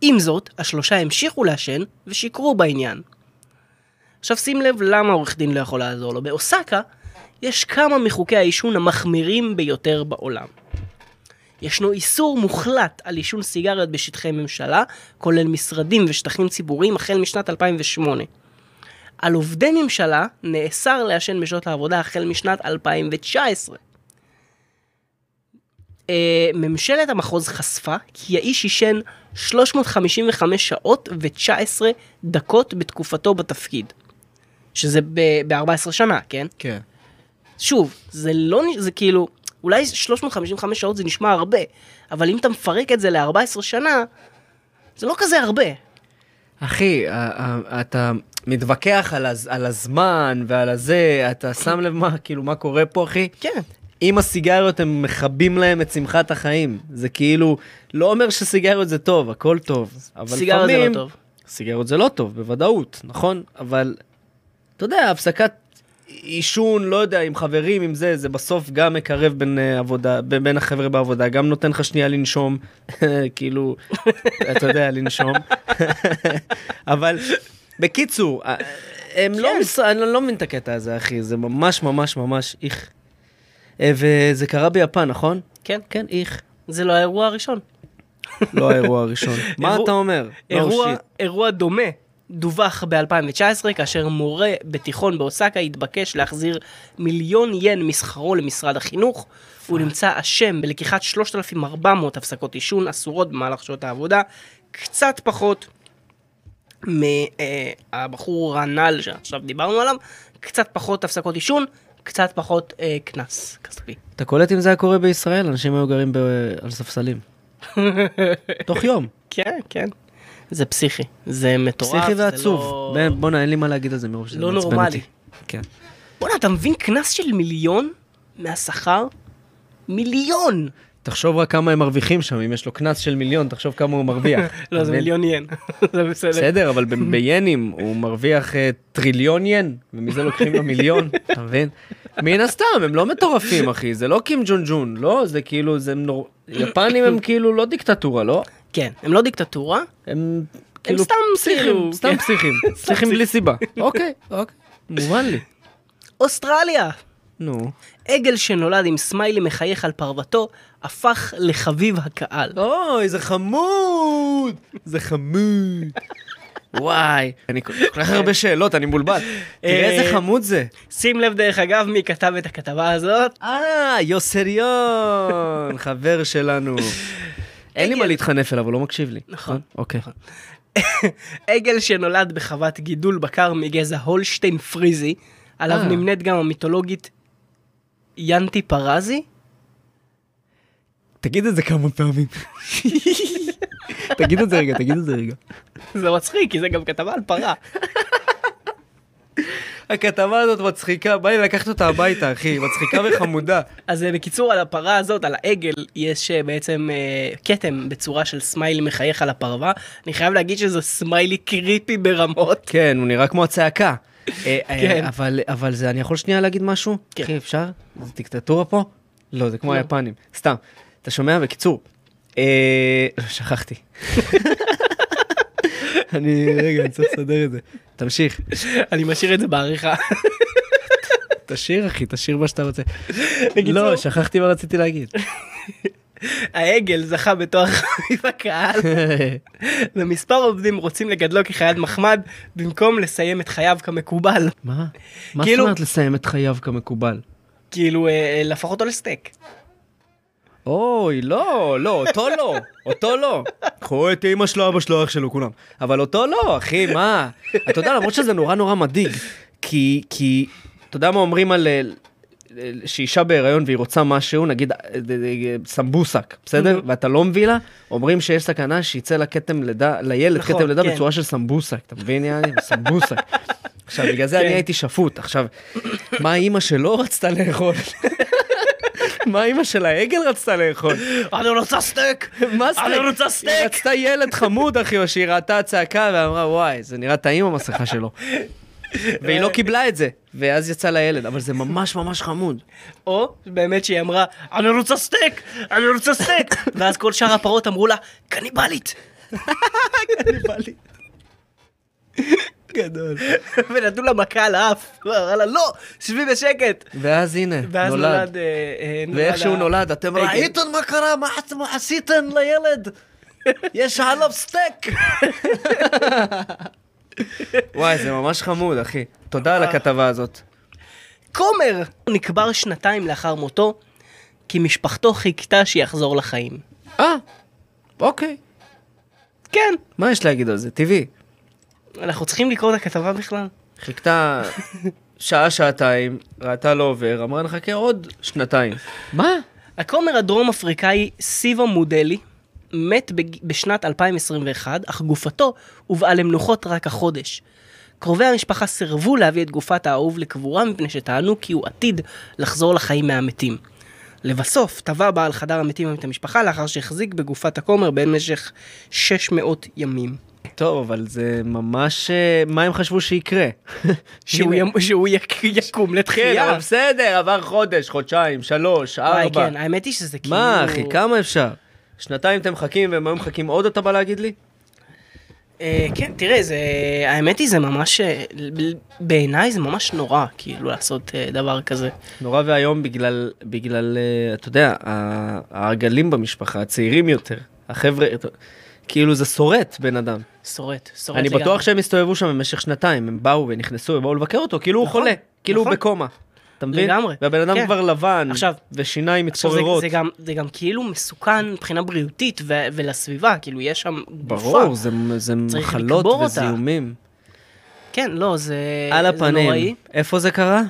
S2: עם זאת, השלושה המשיכו לעשן ושיקרו בעניין. עכשיו שים לב למה עורך דין לא יכול לעזור לו. באוסקה יש כמה מחוקי העישון המחמירים ביותר בעולם. ישנו איסור מוחלט על עישון סיגריות בשטחי ממשלה, כולל משרדים ושטחים ציבוריים, החל משנת 2008. על עובדי ממשלה נאסר לעשן בשעות העבודה החל משנת 2019. אה, ממשלת המחוז חשפה כי האיש עישן 355 שעות ו-19 דקות בתקופתו בתפקיד. שזה ב-14 שנה, כן?
S1: כן.
S2: שוב, זה לא, נ- זה כאילו, אולי 355 שעות זה נשמע הרבה, אבל אם אתה מפרק את זה ל-14 שנה, זה לא כזה הרבה.
S1: אחי, ה- ה- אתה מתווכח על, הז, על הזמן ועל הזה, אתה שם לב מה, כאילו, מה קורה פה, אחי?
S2: כן.
S1: עם הסיגריות הם מכבים להם את שמחת החיים. זה כאילו, לא אומר שסיגריות זה טוב, הכל טוב. אבל
S2: סיגריות זה לא
S1: לפעמים,
S2: טוב.
S1: סיגריות זה לא טוב, בוודאות, נכון? אבל, אתה יודע, הפסקת עישון, לא יודע, עם חברים, עם זה, זה בסוף גם מקרב בין אה, עבודה, ב- בין החבר'ה בעבודה, גם נותן לך שנייה לנשום, כאילו, אתה יודע, לנשום. אבל, בקיצור, אה, הם
S2: כן.
S1: לא, מס... אני לא מבין את הקטע הזה, אחי, זה ממש ממש ממש איך. אה, וזה קרה ביפן, נכון?
S2: כן,
S1: כן, איך.
S2: זה לא האירוע הראשון.
S1: לא האירוע הראשון. מה
S2: אירוע-
S1: אתה אומר? לא, No
S2: אירוע,
S1: shit.
S2: אירוע דומה דווח ב-2019, כאשר מורה בתיכון באוסקה התבקש להחזיר מיליון ין משכרו למשרד החינוך. הוא נמצא אשם בלקיחת 3,400 הפסקות עישון אסורות במהלך שעות העבודה, קצת פחות מהבחור הנ"ל שעכשיו דיברנו עליו, קצת פחות הפסקות עישון, קצת פחות אה, קנס כספי.
S1: אתה קולט אם זה היה קורה בישראל, אנשים היו גרים ב... על ספסלים. תוך יום.
S2: כן, כן. זה פסיכי, זה מטורף.
S1: פסיכי
S2: זה
S1: ועצוב.
S2: לא-
S1: באמת, בואנה, אין לי מה להגיד על זה מרוב שזה
S2: לא
S1: מעצבן
S2: נורמלי.
S1: אותי. כן.
S2: בואנה, אתה מבין קנס של מיליון מהשכר? מיליון!
S1: תחשוב רק כמה הם מרוויחים שם, אם יש לו קנס של מיליון, תחשוב כמה הוא מרוויח.
S2: לא, זה
S1: אבל-
S2: מיליון ין. זה בסדר.
S1: כן. בסדר, אבל ב- ביינים הוא מרוויח אה, טריליון ין, ומזה לוקחים לו מיליון, אתה מבין? מן הסתם, הם לא מטורפים, אחי, זה לא קים ג'ון ג'ון, לא, זה כאילו, זה נור... יפנים הם כאילו לא דיקטטורה, לא?
S2: כן, הם לא דיקטטורה.
S1: הם כאילו
S2: סתם
S1: פסיכים,
S2: כאילו,
S1: סתם
S2: כן.
S1: פסיכים, פסיכים בלי סיבה. אוקיי, אוקיי, מובן לי.
S2: אוסטרליה!
S1: נו.
S2: עגל שנולד עם סמיילי מחייך על פרוותו, הפך לחביב הקהל.
S1: אוי, זה חמוד! זה חמוד. וואי, אני כל כל כך הרבה שאלות, אני מבולבל. תראה איזה
S2: אה,
S1: חמוד זה.
S2: שים לב דרך אגב מי כתב את הכתבה הזאת.
S1: אה, יוסריון, חבר שלנו. אין לי מה
S2: עגל.
S1: להתחנף אליו, הוא לא מקשיב לי.
S2: נכון.
S1: אוקיי.
S2: עגל שנולד בחוות גידול בקר מגזע הולשטיין פריזי, עליו
S1: אה.
S2: נמנית גם המיתולוגית ינטי פרזי.
S1: תגיד את זה כמה פעמים. תגיד את זה רגע, תגיד את זה רגע.
S2: זה מצחיק, כי זה גם כתבה על פרה.
S1: הכתבה הזאת מצחיקה, בא לי לקחת אותה הביתה, אחי, היא מצחיקה וחמודה.
S2: אז אה, בקיצור, על הפרה הזאת, על העגל, יש אה, בעצם אה, כתם בצורה של סמיילי מחייך על הפרווה. אני חייב להגיד שזה סמיילי קריפי ברמות.
S1: כן, הוא נראה כמו הצעקה. אה, אה,
S2: כן.
S1: אבל, אבל זה, אני יכול שנייה להגיד משהו?
S2: כן.
S1: אחי, אפשר? זה דיקטטורה פה? לא, זה כמו
S2: לא.
S1: היפנים. סתם. אתה שומע? בקיצור. אה, שכחתי. אני, רגע, אני צריך לסדר את זה. תמשיך.
S2: אני משאיר את זה בעריכה.
S1: תשאיר, אחי, תשאיר מה שאתה רוצה.
S2: בקיצור-
S1: לא, שכחתי מה רציתי להגיד.
S2: העגל זכה בתואר חביב הקהל, ומספר עובדים רוצים לגדלו כחיית מחמד, במקום לסיים את חייו כמקובל.
S1: מה? מה זאת
S2: כאילו-
S1: אומרת לסיים את חייו כמקובל?
S2: כאילו, אה, אה, להפוך אותו לסטייק.
S1: אוי, לא, לא, אותו לא, אותו לא. קחו את אימא שלו, אבא שלו, אח שלו, כולם. אבל אותו לא, אחי, מה? אתה יודע, למרות שזה נורא נורא מדאיג, כי, כי, אתה יודע מה אומרים על... אה, אה, שאישה בהיריון והיא רוצה משהו, נגיד אה, אה, אה, סמבוסק, בסדר? ואתה לא מביא לה, אומרים שיש סכנה שיצא לה כתם לידה, לילד
S2: נכון,
S1: כתם לידה
S2: כן.
S1: בצורה של סמבוסק, אתה מבין, יעני? סמבוסק. עכשיו, בגלל זה
S2: כן.
S1: אני הייתי שפוט. עכשיו, מה אימא שלו רצתה לאכול? מה אימא של העגל רצתה לאכול?
S2: אני רוצה סטייק!
S1: מה סטייק?
S2: אני רוצה
S1: היא
S2: סטייק!
S1: רצתה ילד חמוד, אחי, או שהיא ראתה צעקה ואמרה, וואי, זה נראה טעים המסכה שלו. והיא לא קיבלה את זה, ואז יצא לה ילד, אבל זה ממש ממש חמוד.
S2: או באמת שהיא אמרה, אני רוצה סטייק! אני רוצה סטייק! ואז כל שאר הפרות אמרו לה, קניבלית! קניבלית.
S1: גדול.
S2: ונתנו לה מכה על האף, ואמרה לה לא, שבי בשקט.
S1: ואז הנה,
S2: ואז
S1: נולד.
S2: נולד, אה, אה, נולד
S1: ואיך שהוא
S2: ה- אה, כן.
S1: נולד, אתם
S2: רגל.
S1: ראיתם מה קרה? מה אתם עשיתם לילד? יש עליו סטייק! וואי, זה ממש חמוד, אחי. תודה
S2: אה.
S1: על הכתבה הזאת.
S2: כומר נקבר שנתיים לאחר מותו, כי משפחתו חיכתה שיחזור לחיים.
S1: אה, אוקיי.
S2: כן,
S1: מה יש להגיד על זה? טבעי.
S2: אנחנו צריכים לקרוא את הכתבה בכלל.
S1: חיכתה שעה-שעתיים, ראתה לא עובר, אמרה נחכה עוד שנתיים. מה?
S2: הכומר הדרום אפריקאי סיבו מודלי מת בג- בשנת 2021, אך גופתו הובאה למנוחות רק החודש. קרובי המשפחה סירבו להביא את גופת האהוב לקבורה מפני שטענו כי הוא עתיד לחזור לחיים מהמתים. לבסוף טבע בעל חדר המתים את המשפחה לאחר שהחזיק בגופת הכומר במשך 600 ימים.
S1: טוב, אבל זה ממש... אה, מה הם חשבו שיקרה?
S2: שהוא,
S1: הנה.
S2: ימ... שהוא יק... יקום
S1: כן,
S2: לתחייה.
S1: אבל בסדר, עבר חודש, חודשיים, שלוש,
S2: וואי,
S1: ארבע.
S2: כן, האמת היא שזה כאילו...
S1: מה, אחי, כמה אפשר? שנתיים אתם מחכים והם היו מחכים עוד, אתה בא להגיד לי?
S2: אה, כן, תראה, זה... האמת היא, זה ממש... אה, ב- בעיניי זה ממש נורא, כאילו, לעשות אה, דבר כזה.
S1: נורא ואיום בגלל, בגלל, אה, אתה יודע, ה- העגלים במשפחה, הצעירים יותר, החבר'ה, אתה- כאילו זה שורט בן אדם.
S2: שורט, שורט
S1: אני
S2: לגמרי.
S1: בטוח שהם הסתובבו שם במשך שנתיים, הם באו ונכנסו, הם באו לבקר אותו, כאילו הוא
S2: נכון,
S1: חולה, כאילו הוא
S2: נכון.
S1: בקומה. אתה מבין?
S2: לגמרי,
S1: והבן אדם
S2: כן.
S1: כבר לבן,
S2: עכשיו-
S1: ושיניים
S2: עכשיו, זה,
S1: מתפוררות.
S2: זה, גם, זה גם כאילו מסוכן מבחינה בריאותית ו- ולסביבה, כאילו, יש שם גופה.
S1: ברור, זה- זה
S2: צריך
S1: מחלות
S2: לקבור אותה.
S1: וזיהומים.
S2: כן, לא, זה,
S1: על
S2: זה נוראי.
S1: הפנים. איפה זה קרה?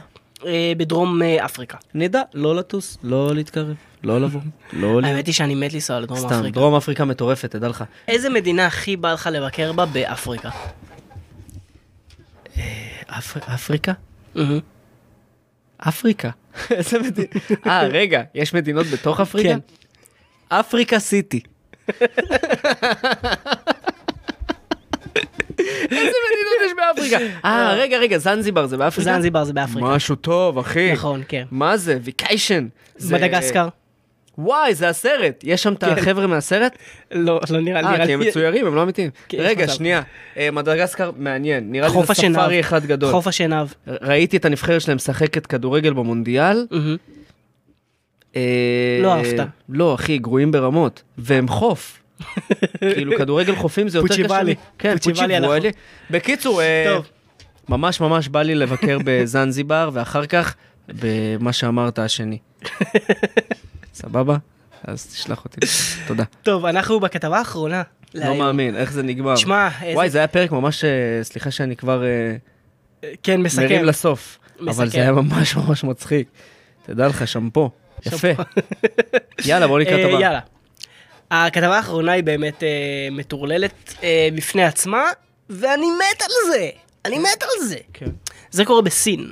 S2: אה, בדרום אה, אפריקה.
S1: נדע, לא לטוס, לא להתקרב, לא לבוא, לא ל...
S2: האמת היא שאני מת לנסוע לדרום
S1: סתם,
S2: אה, אפריקה.
S1: דרום אפריקה מטורפת, תדע לך.
S2: איזה מדינה הכי בא לך לבקר בה באפריקה? אה,
S1: אפר- אפריקה?
S2: מהמם.
S1: אפריקה. איזה מדינה? אה, רגע, יש מדינות בתוך אפריקה?
S2: כן.
S1: אפריקה סיטי. איזה מדינות יש באפריקה? אה, רגע, רגע, זנזיבר זה באפריקה?
S2: זנזיבר זה באפריקה.
S1: משהו טוב, אחי.
S2: נכון, כן.
S1: מה זה? ויקיישן. זה-
S2: מדגסקר? כן.
S1: וואי, זה הסרט. יש שם את החבר'ה מהסרט?
S2: לא, לא נראה
S1: אה, כי הם
S2: לי...
S1: מצוירים, הם לא אמיתיים.
S2: כן, יש
S1: רגע,
S2: מצב.
S1: שנייה. אה, מדגסקר, מעניין. נראה לי
S2: חוף
S1: זה
S2: השנהב.
S1: ספארי אחד גדול.
S2: חוף השנהב.
S1: ראיתי את הנבחרת שלהם משחקת כדורגל במונדיאל.
S2: מהמם.
S1: אה,
S2: לא אהבת.
S1: לא, אחי, גרועים ברמות. והם חוף. כאילו, כדורגל חופים זה יותר קשה.
S2: פוצ'יוואלי.
S1: לי. כן,
S2: פוצ'יוואלי על
S1: פוצ'יוואלי. בקיצור, אה,
S2: טוב.
S1: ממש ממש בא לי לבקר בזנזיבר, ואחר כך במה שאמרת השני. סבבה? אז תשלח אותי. תודה.
S2: טוב, אנחנו בכתבה האחרונה.
S1: לא
S2: להיום.
S1: מאמין, איך זה נגמר.
S2: תשמע,
S1: וואי,
S2: איזה...
S1: זה היה פרק ממש, אה, סליחה שאני כבר אה,
S2: כן, מסכם.
S1: מרים לסוף. אבל
S2: מסכם.
S1: זה היה ממש ממש מצחיק. תדע לך, שמפו. יפה.
S2: שמפו.
S1: יאללה, בוא נקרא
S2: אה,
S1: את הבא.
S2: יאללה. הכתבה האחרונה היא באמת אה, מטורללת אה, בפני עצמה, ואני מת על זה! אני מת על זה! זה קורה בסין.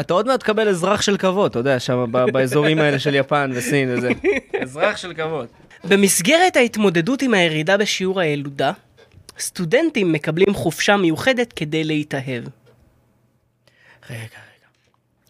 S1: אתה עוד מעט תקבל אזרח של כבוד, אתה יודע, שם ב- באזורים האלה של יפן וסין וזה. אזרח של כבוד.
S2: במסגרת ההתמודדות עם הירידה בשיעור הילודה, סטודנטים מקבלים חופשה מיוחדת כדי להתאהב.
S1: רגע, רגע.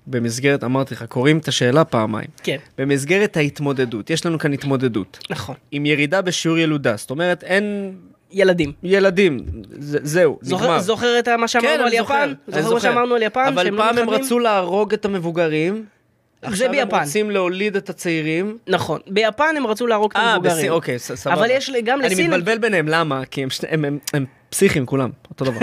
S1: במסגרת, אמרתי לך, קוראים את השאלה פעמיים.
S2: כן,
S1: במסגרת ההתמודדות, יש לנו כאן התמודדות.
S2: נכון.
S1: עם ירידה בשיעור ילודה, זאת אומרת, אין
S2: ילדים.
S1: ילדים, זה, זהו, נגמר.
S2: זוכר, זוכר את מה שאמרנו
S1: כן,
S2: על
S1: אני זוכר,
S2: יפן?
S1: אני
S2: זוכר מה שאמרנו על יפן?
S1: אבל
S2: שהם לא
S1: פעם הם
S2: מתחתנים?
S1: רצו להרוג את המבוגרים. עכשיו
S2: ביפן.
S1: הם רוצים להוליד את הצעירים.
S2: נכון, ביפן הם רצו להרוג את
S1: אה,
S2: המבוגרים.
S1: בסין, אוקיי, ס- סבבה.
S2: כן, אבל יש לי- גם
S1: אני
S2: לסין-
S1: מתבלבל ביניהם, למה? כי הם שני- הם- הם- הם פסיכים כולם, אותו דבר.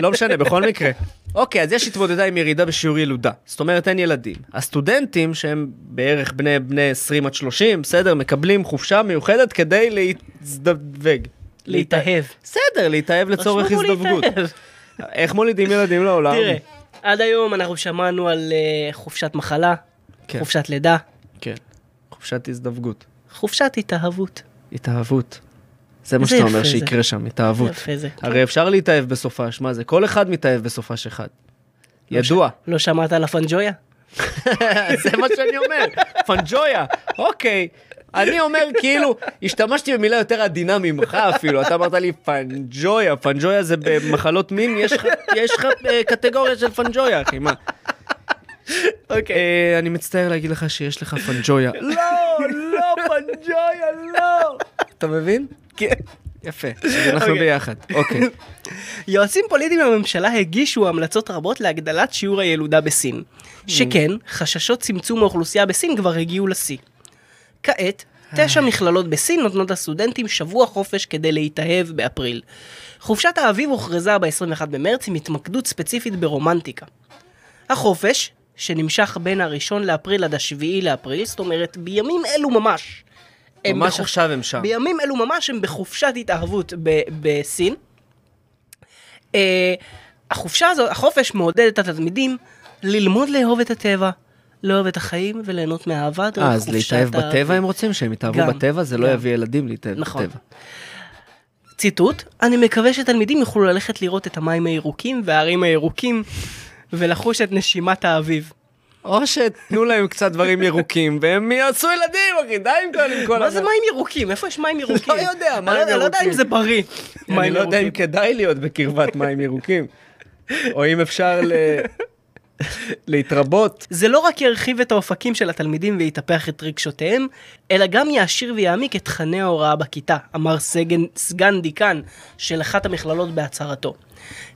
S1: לא משנה, בכל מקרה. אוקיי, אז יש התמודדה עם ירידה בשיעור ילודה. זאת אומרת, אין ילדים. הסטודנטים, שהם בערך בני בני 20 עד 30, בסדר, מקבלים חופשה מיוחדת כדי להזדווג.
S2: להתאהב.
S1: בסדר, להתאהב לצורך
S2: רשמו
S1: הזדווגות.
S2: להתאהב.
S1: איך מולידים ילדים לעולם?
S2: תראה, עד היום אנחנו שמענו על אה, חופשת מחלה,
S1: כן.
S2: חופשת לידה,
S1: כן. חופשת הזדווגות.
S2: חופשת התאהבות.
S1: התאהבות. זה מה
S2: איזה
S1: שאתה
S2: יפה
S1: אומר
S2: זה.
S1: שיקרה שם, התאהבות.
S2: יפה זה.
S1: הרי אפשר להתאהב בסופש, מה זה? כל אחד מתאהב בסופש אחד. ידוע.
S2: לא שמעת על הפנג'ויה?
S1: זה מה שאני אומר, פנג'ויה, אוקיי. אני אומר כאילו, השתמשתי במילה יותר עדינה ממך אפילו, אתה אמרת לי פנג'ויה, פנג'ויה זה במחלות מין, יש לך- יש לך אה, קטגוריה של פנג'ויה, אחי, מה? אוקיי. אני מצטער להגיד לך שיש לך פנג'ויה. לא, לא, פנג'ויה, לא. אתה מבין?
S2: כן.
S1: יפה, אז אנחנו
S2: אוקיי.
S1: ביחד, אוקיי.
S2: יועצים פוליטיים בממשלה הגישו המלצות רבות להגדלת שיעור הילודה בסין.
S1: Hmm.
S2: שכן, חששות צמצום האוכלוסייה בסין כבר הגיעו לשיא.
S1: אה.
S2: כעת, תשע מכללות בסין נותנות לסטודנטים שבוע חופש כדי להתאהב באפריל. חופשת האביב הוכרזה ב-21 במרץ עם התמקדות ספציפית ברומנטיקה. החופש, שנמשך בין הראשון לאפריל עד השביעי לאפריל, זאת אומרת בימים אלו ממש. הם
S1: ממש
S2: בחופ-
S1: עכשיו הם שם.
S2: בימים אלו ממש הם בחופשת התאהבות ב- בסין. אה, החופשה הזו, החופש מעודד את התלמידים ללמוד לאהוב את הטבע, לאהוב את החיים וליהנות מהאהבה. דרך
S1: אה, אז
S2: חופשת
S1: להתאהב
S2: האביב.
S1: בטבע הם רוצים? שהם
S2: גם,
S1: יתאהבו בטבע? זה לא
S2: גם.
S1: יביא ילדים להתאהב
S2: נכון.
S1: בטבע.
S2: ציטוט, אני מקווה שתלמידים יוכלו ללכת לראות את המים הירוקים וההרים הירוקים ולחוש את נשימת האביב.
S1: או שתנו להם קצת דברים ירוקים, והם יעשו ילדים, אחי, די עם כל עם כל לא
S2: מה זה מים ירוקים? איפה יש מים ירוקים?
S1: יודע,
S2: אני
S1: מים
S2: אני לא יודע
S1: ירוקים.
S2: אם זה בריא.
S1: אני
S2: מים
S1: לא יודע אם
S2: ירוקים.
S1: כדאי להיות בקרבת מים ירוקים, או אם אפשר ל... להתרבות.
S2: זה לא רק ירחיב את האופקים של התלמידים ויטפח את רגשותיהם, אלא גם יעשיר ויעמיק את תכני ההוראה בכיתה, אמר סגן, סגן דיקן של אחת המכללות בהצהרתו.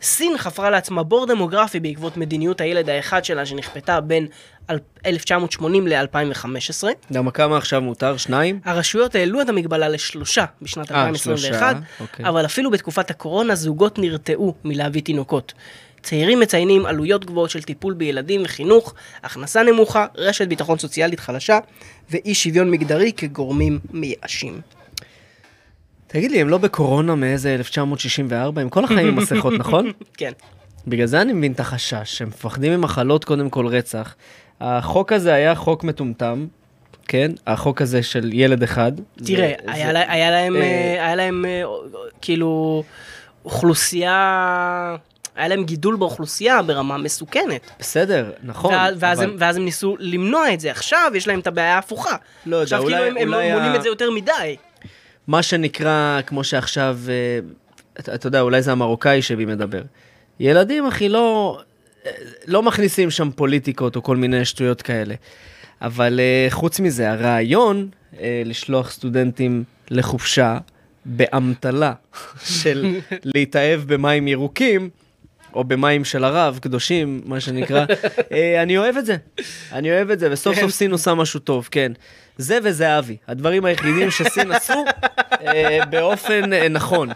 S2: סין חפרה לעצמה בור דמוגרפי בעקבות מדיניות הילד האחד שלה שנכפתה בין אל- 1980 ל-2015.
S1: למה כמה עכשיו מותר? שניים?
S2: הרשויות העלו את המגבלה לשלושה בשנת
S1: אה,
S2: 2021,
S1: שלושה, אוקיי.
S2: אבל אפילו בתקופת הקורונה זוגות נרתעו מלהביא תינוקות. צעירים מציינים עלויות גבוהות של טיפול בילדים וחינוך, הכנסה נמוכה, רשת ביטחון סוציאלית חלשה ואי שוויון מגדרי כגורמים מייאשים.
S1: תגיד לי, הם לא בקורונה מאיזה 1964? הם כל החיים עם מסכות, נכון?
S2: כן.
S1: בגלל זה אני מבין את החשש, הם מפחדים ממחלות, קודם כל רצח. החוק הזה היה חוק מטומטם, כן? החוק הזה של ילד אחד.
S2: תראה,
S1: זה-
S2: היה
S1: זה-
S2: לה- היה להם,
S1: אה,
S2: אה, היה להם אה, כאילו אוכלוסייה, היה להם גידול באוכלוסייה ברמה מסוכנת.
S1: בסדר, נכון.
S2: ואז, ואז,
S1: אבל-
S2: הם, ואז הם ניסו למנוע את זה, עכשיו יש להם את הבעיה ההפוכה.
S1: לא יודע,
S2: עכשיו
S1: אולי-
S2: כאילו הם, הם
S1: אולי
S2: מונעים
S1: ה-
S2: את זה יותר מדי.
S1: מה שנקרא, כמו שעכשיו, אה, אתה אתה יודע, אולי זה המרוקאי שבי מדבר. ילדים, אחי, לא, אה, לא מכניסים שם פוליטיקות או כל מיני שטויות כאלה. אבל אה, חוץ מזה, הרעיון אה, לשלוח סטודנטים לחופשה באמתלה של להתאהב במים ירוקים, או במים של הרב, קדושים, מה שנקרא, אה, אני אוהב את זה. אני אוהב את זה, וסוף סוף סין עושה משהו טוב, כן. זה וזהבי, הדברים היחידים שסין עשו אה, באופן אה, נכון.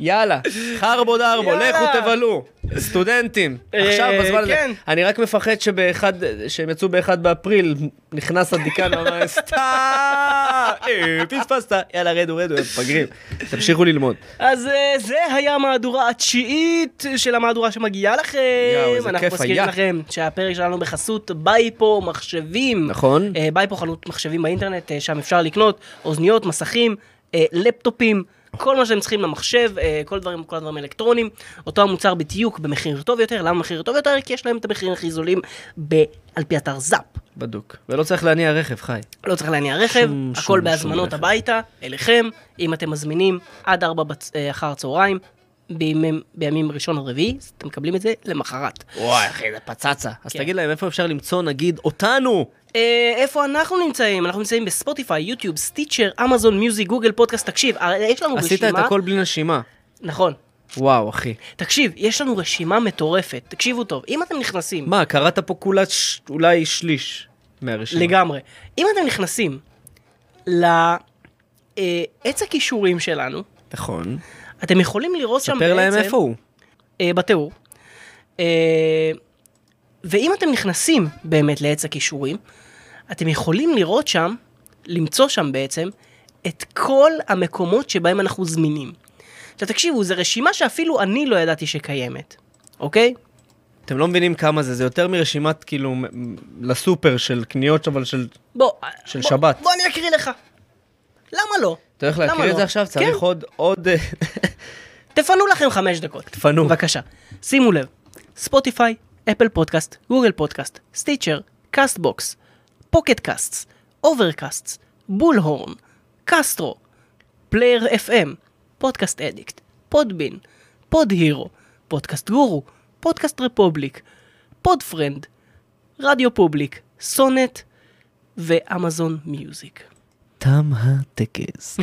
S1: יאללה, חרבו דרבו,
S2: יאללה.
S1: לכו תבלו. סטודנטים,
S2: אה,
S1: עכשיו בזמן הזה.
S2: כן.
S1: אני רק מפחד שבאחד, שהם יצאו באחד באפריל, נכנס הדיקן ואמר, סתם, אה, פספסת, יאללה, רדו, רדו, הם מפגרים. תמשיכו ללמוד.
S2: אז אה, זה היה המהדורה התשיעית של המהדורה שמגיעה לכם.
S1: יואו, איזה
S2: אנחנו
S1: כיף
S2: מזכירים
S1: היה.
S2: לכם שהפרק שלנו בחסות ביי פה מחשבים.
S1: נכון.
S2: אה, ביי פה חנות מחשבים באינטרנט, אה, שם אפשר לקנות אוזניות, מסכים, אה, לפטופים. כל מה שאתם צריכים למחשב, אה, כל הדברים, כל הדברים האלקטרונים, אותו המוצר בדיוק במחיר טוב יותר, למה מחיר טוב יותר? כי יש להם את המחירים הכי זולים ב- על פי אתר זאפ.
S1: בדוק. ולא צריך להניע רכב, חי.
S2: לא צריך להניע רכב,
S1: שום- שום-
S2: הכל
S1: שום
S2: בהזמנות
S1: רכב.
S2: הביתה, אליכם, אם אתם מזמינים עד ארבע בצ- אה, אחר הצהריים, בימים, בימים ראשון או רביעי, אז אתם מקבלים את זה למחרת.
S1: וואי, אחי, זה פצצה. אז
S2: כן.
S1: תגיד להם, איפה אפשר למצוא, נגיד, אותנו?
S2: אה, איפה אנחנו נמצאים? אנחנו נמצאים בספוטיפיי, יוטיוב, סטיצ'ר, אמזון, מיוזיק, גוגל, פודקאסט, תקשיב, אה, יש לנו
S1: עשית
S2: רשימה...
S1: את הכל בלי נשימה.
S2: נכון.
S1: וואו, אחי.
S2: תקשיב, יש לנו רשימה מטורפת, תקשיבו טוב, אם אתם נכנסים...
S1: מה, קראת פה כולה ש- אולי שליש מהרשימה.
S2: לגמרי. אם אתם נכנסים לעץ הכישורים שלנו,
S1: נכון.
S2: אתם יכולים לראות שם בעצם...
S1: ספר להם איפה הוא.
S2: אה, בתיאור. אה, ואם אתם נכנסים באמת לעץ הכישורים, אתם יכולים לראות שם, למצוא שם בעצם, את כל המקומות שבהם אנחנו זמינים. עכשיו תקשיבו, זו רשימה שאפילו אני לא ידעתי שקיימת, אוקיי?
S1: אתם לא מבינים כמה זה, זה יותר מרשימת כאילו מ- מ- לסופר של קניות, אבל של...
S2: בוא,
S1: של
S2: בוא,
S1: שבת.
S2: בוא אני אקריא לך. למה לא?
S1: אתה הולך
S2: למה
S1: להקריא
S2: לא?
S1: את זה עכשיו?
S2: כן.
S1: צריך עוד, עוד... אה,
S2: תפנו לכם חמש דקות.
S1: תפנו.
S2: בבקשה. שימו לב, ספוטיפיי, אפל פודקאסט, גוגל פודקאסט, סטיצ'ר, קאסטבוקס, פוקט קאסטס, אוברקאסטס, בול הורן, קסטרו, פלייר FM, פודקאסט אדיקט, פודבין, פוד הירו, פודקאסט גורו, פודקאסט רפובליק, פוד פרנד, רדיו פובליק, סונט ואמזון מיוזיק.
S1: תם הטקס.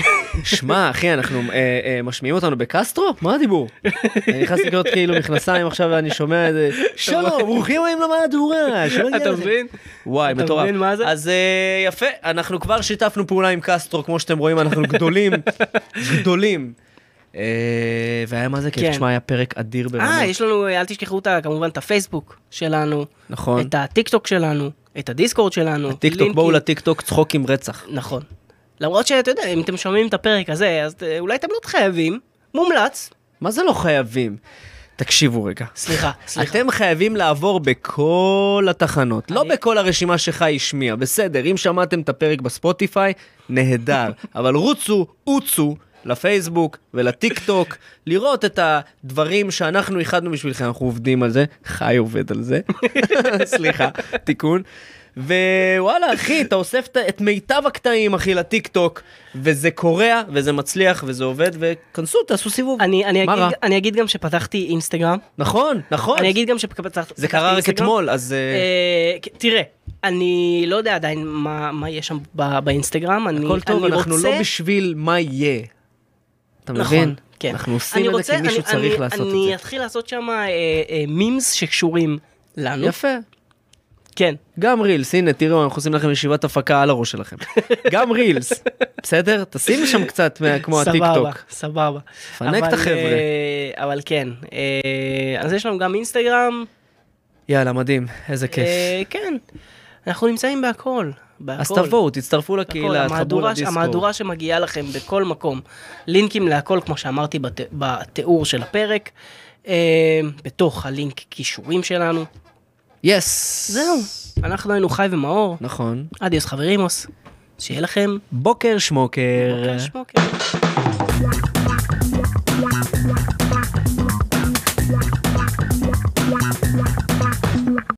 S1: שמע, אחי, אנחנו אה, אה, משמיעים אותנו בקסטרו? מה הדיבור? אני נכנס לקנות כאילו מכנסיים עכשיו ואני שומע את זה. שלום, ברוכים היום למהדורה. שלא יהיה
S2: אתה
S1: לכם."
S2: מבין?
S1: וואי,
S2: אתה
S1: מטורף.
S2: מבין מה זה?
S1: אז אה, יפה, אנחנו כבר שיתפנו פעולה עם קסטרו, כמו שאתם רואים, אנחנו גדולים, גדולים. אה, והיה מה זה כיף,
S2: כן.
S1: תשמע, היה פרק אדיר ברמות.
S2: אה, יש לנו, אה, אל תשכחו את ה- כמובן את הפייסבוק שלנו,
S1: נכון.
S2: את הטיקטוק שלנו, את הדיסקורד שלנו.
S1: טיקטוק,
S2: לינקים-
S1: בואו לטיקטוק, צחוק עם רצח.
S2: נכון. למרות שאתה יודע, אם אתם שומעים את הפרק הזה, אז אה, אולי אתם לא חייבים, מומלץ,
S1: מה זה לא חייבים? תקשיבו רגע.
S2: סליחה, סליחה.
S1: אתם חייבים לעבור בכל התחנות, לא
S2: אני-
S1: בכל הרשימה שחי השמיע, בסדר, אם שמעתם את הפרק בספוטיפיי, נהדר, אבל רוצו, רוצו לפייסבוק ולטיק טוק, לראות את הדברים שאנחנו איחדנו בשבילכם, אנחנו עובדים על זה, חי עובד על זה, סליחה, תיקון. ווואלה אחי, אתה אוסף את- את מיטב הקטעים אחי לטיק טוק, וזה קורע, וזה מצליח, וזה עובד, וכנסו, תעשו סיבוב.
S2: אני, אני,
S1: מה
S2: אגיד,
S1: רע?
S2: אני אגיד גם שפתחתי אינסטגרם.
S1: נכון, נכון.
S2: אני אגיד גם שפתחתי
S1: זה קרה רק
S2: אינסטגרם.
S1: אתמול, אז... אה,
S2: אה, כ- תראה, אני לא יודע עדיין מה, מה יש שם ב, באינסטגרם. אני,
S1: הכל טוב,
S2: אני
S1: אנחנו
S2: רוצה...
S1: לא בשביל מה יהיה. אתה
S2: נכון,
S1: מבין?
S2: כן.
S1: אנחנו עושים
S2: אני
S1: את זה
S2: רוצה-
S1: כי מישהו
S2: אני-
S1: צריך
S2: אני-
S1: לעשות
S2: אני
S1: את
S2: אתחיל לעשות שם אה, אה, מימס שקשורים לנו.
S1: זה. יפה.
S2: כן.
S1: גם רילס, הנה, תראו, אנחנו עושים לכם ישיבת הפקה על הראש שלכם. גם רילס, בסדר? תשים שם קצת מה- כמו
S2: סבבה,
S1: הטיקטוק.
S2: סבבה.
S1: פנק את
S2: אבל,
S1: החבר'ה.
S2: אה, אבל כן. אה, אז יש לנו גם אינסטגרם.
S1: יאללה, מדהים, איזה כיף.
S2: אה, כן. אנחנו נמצאים בהכל. בהכל.
S1: אז תבואו, כאילו, תצטרפו
S2: הכל,
S1: לקהילה, תחברו
S2: המהדורה ש-
S1: לדיסקו.
S2: המהדורה שמגיעה לכם בכל מקום. לינקים להכל, כמו שאמרתי בת, בתיאור של הפרק. אה, בתוך הלינק כישורים שלנו.
S1: יס.
S2: זהו, אנחנו היינו חי ומאור.
S1: נכון.
S2: אדיוס חברימוס. שיהיה לכם
S1: בוקר שמוקר.
S2: בוקר שמוקר.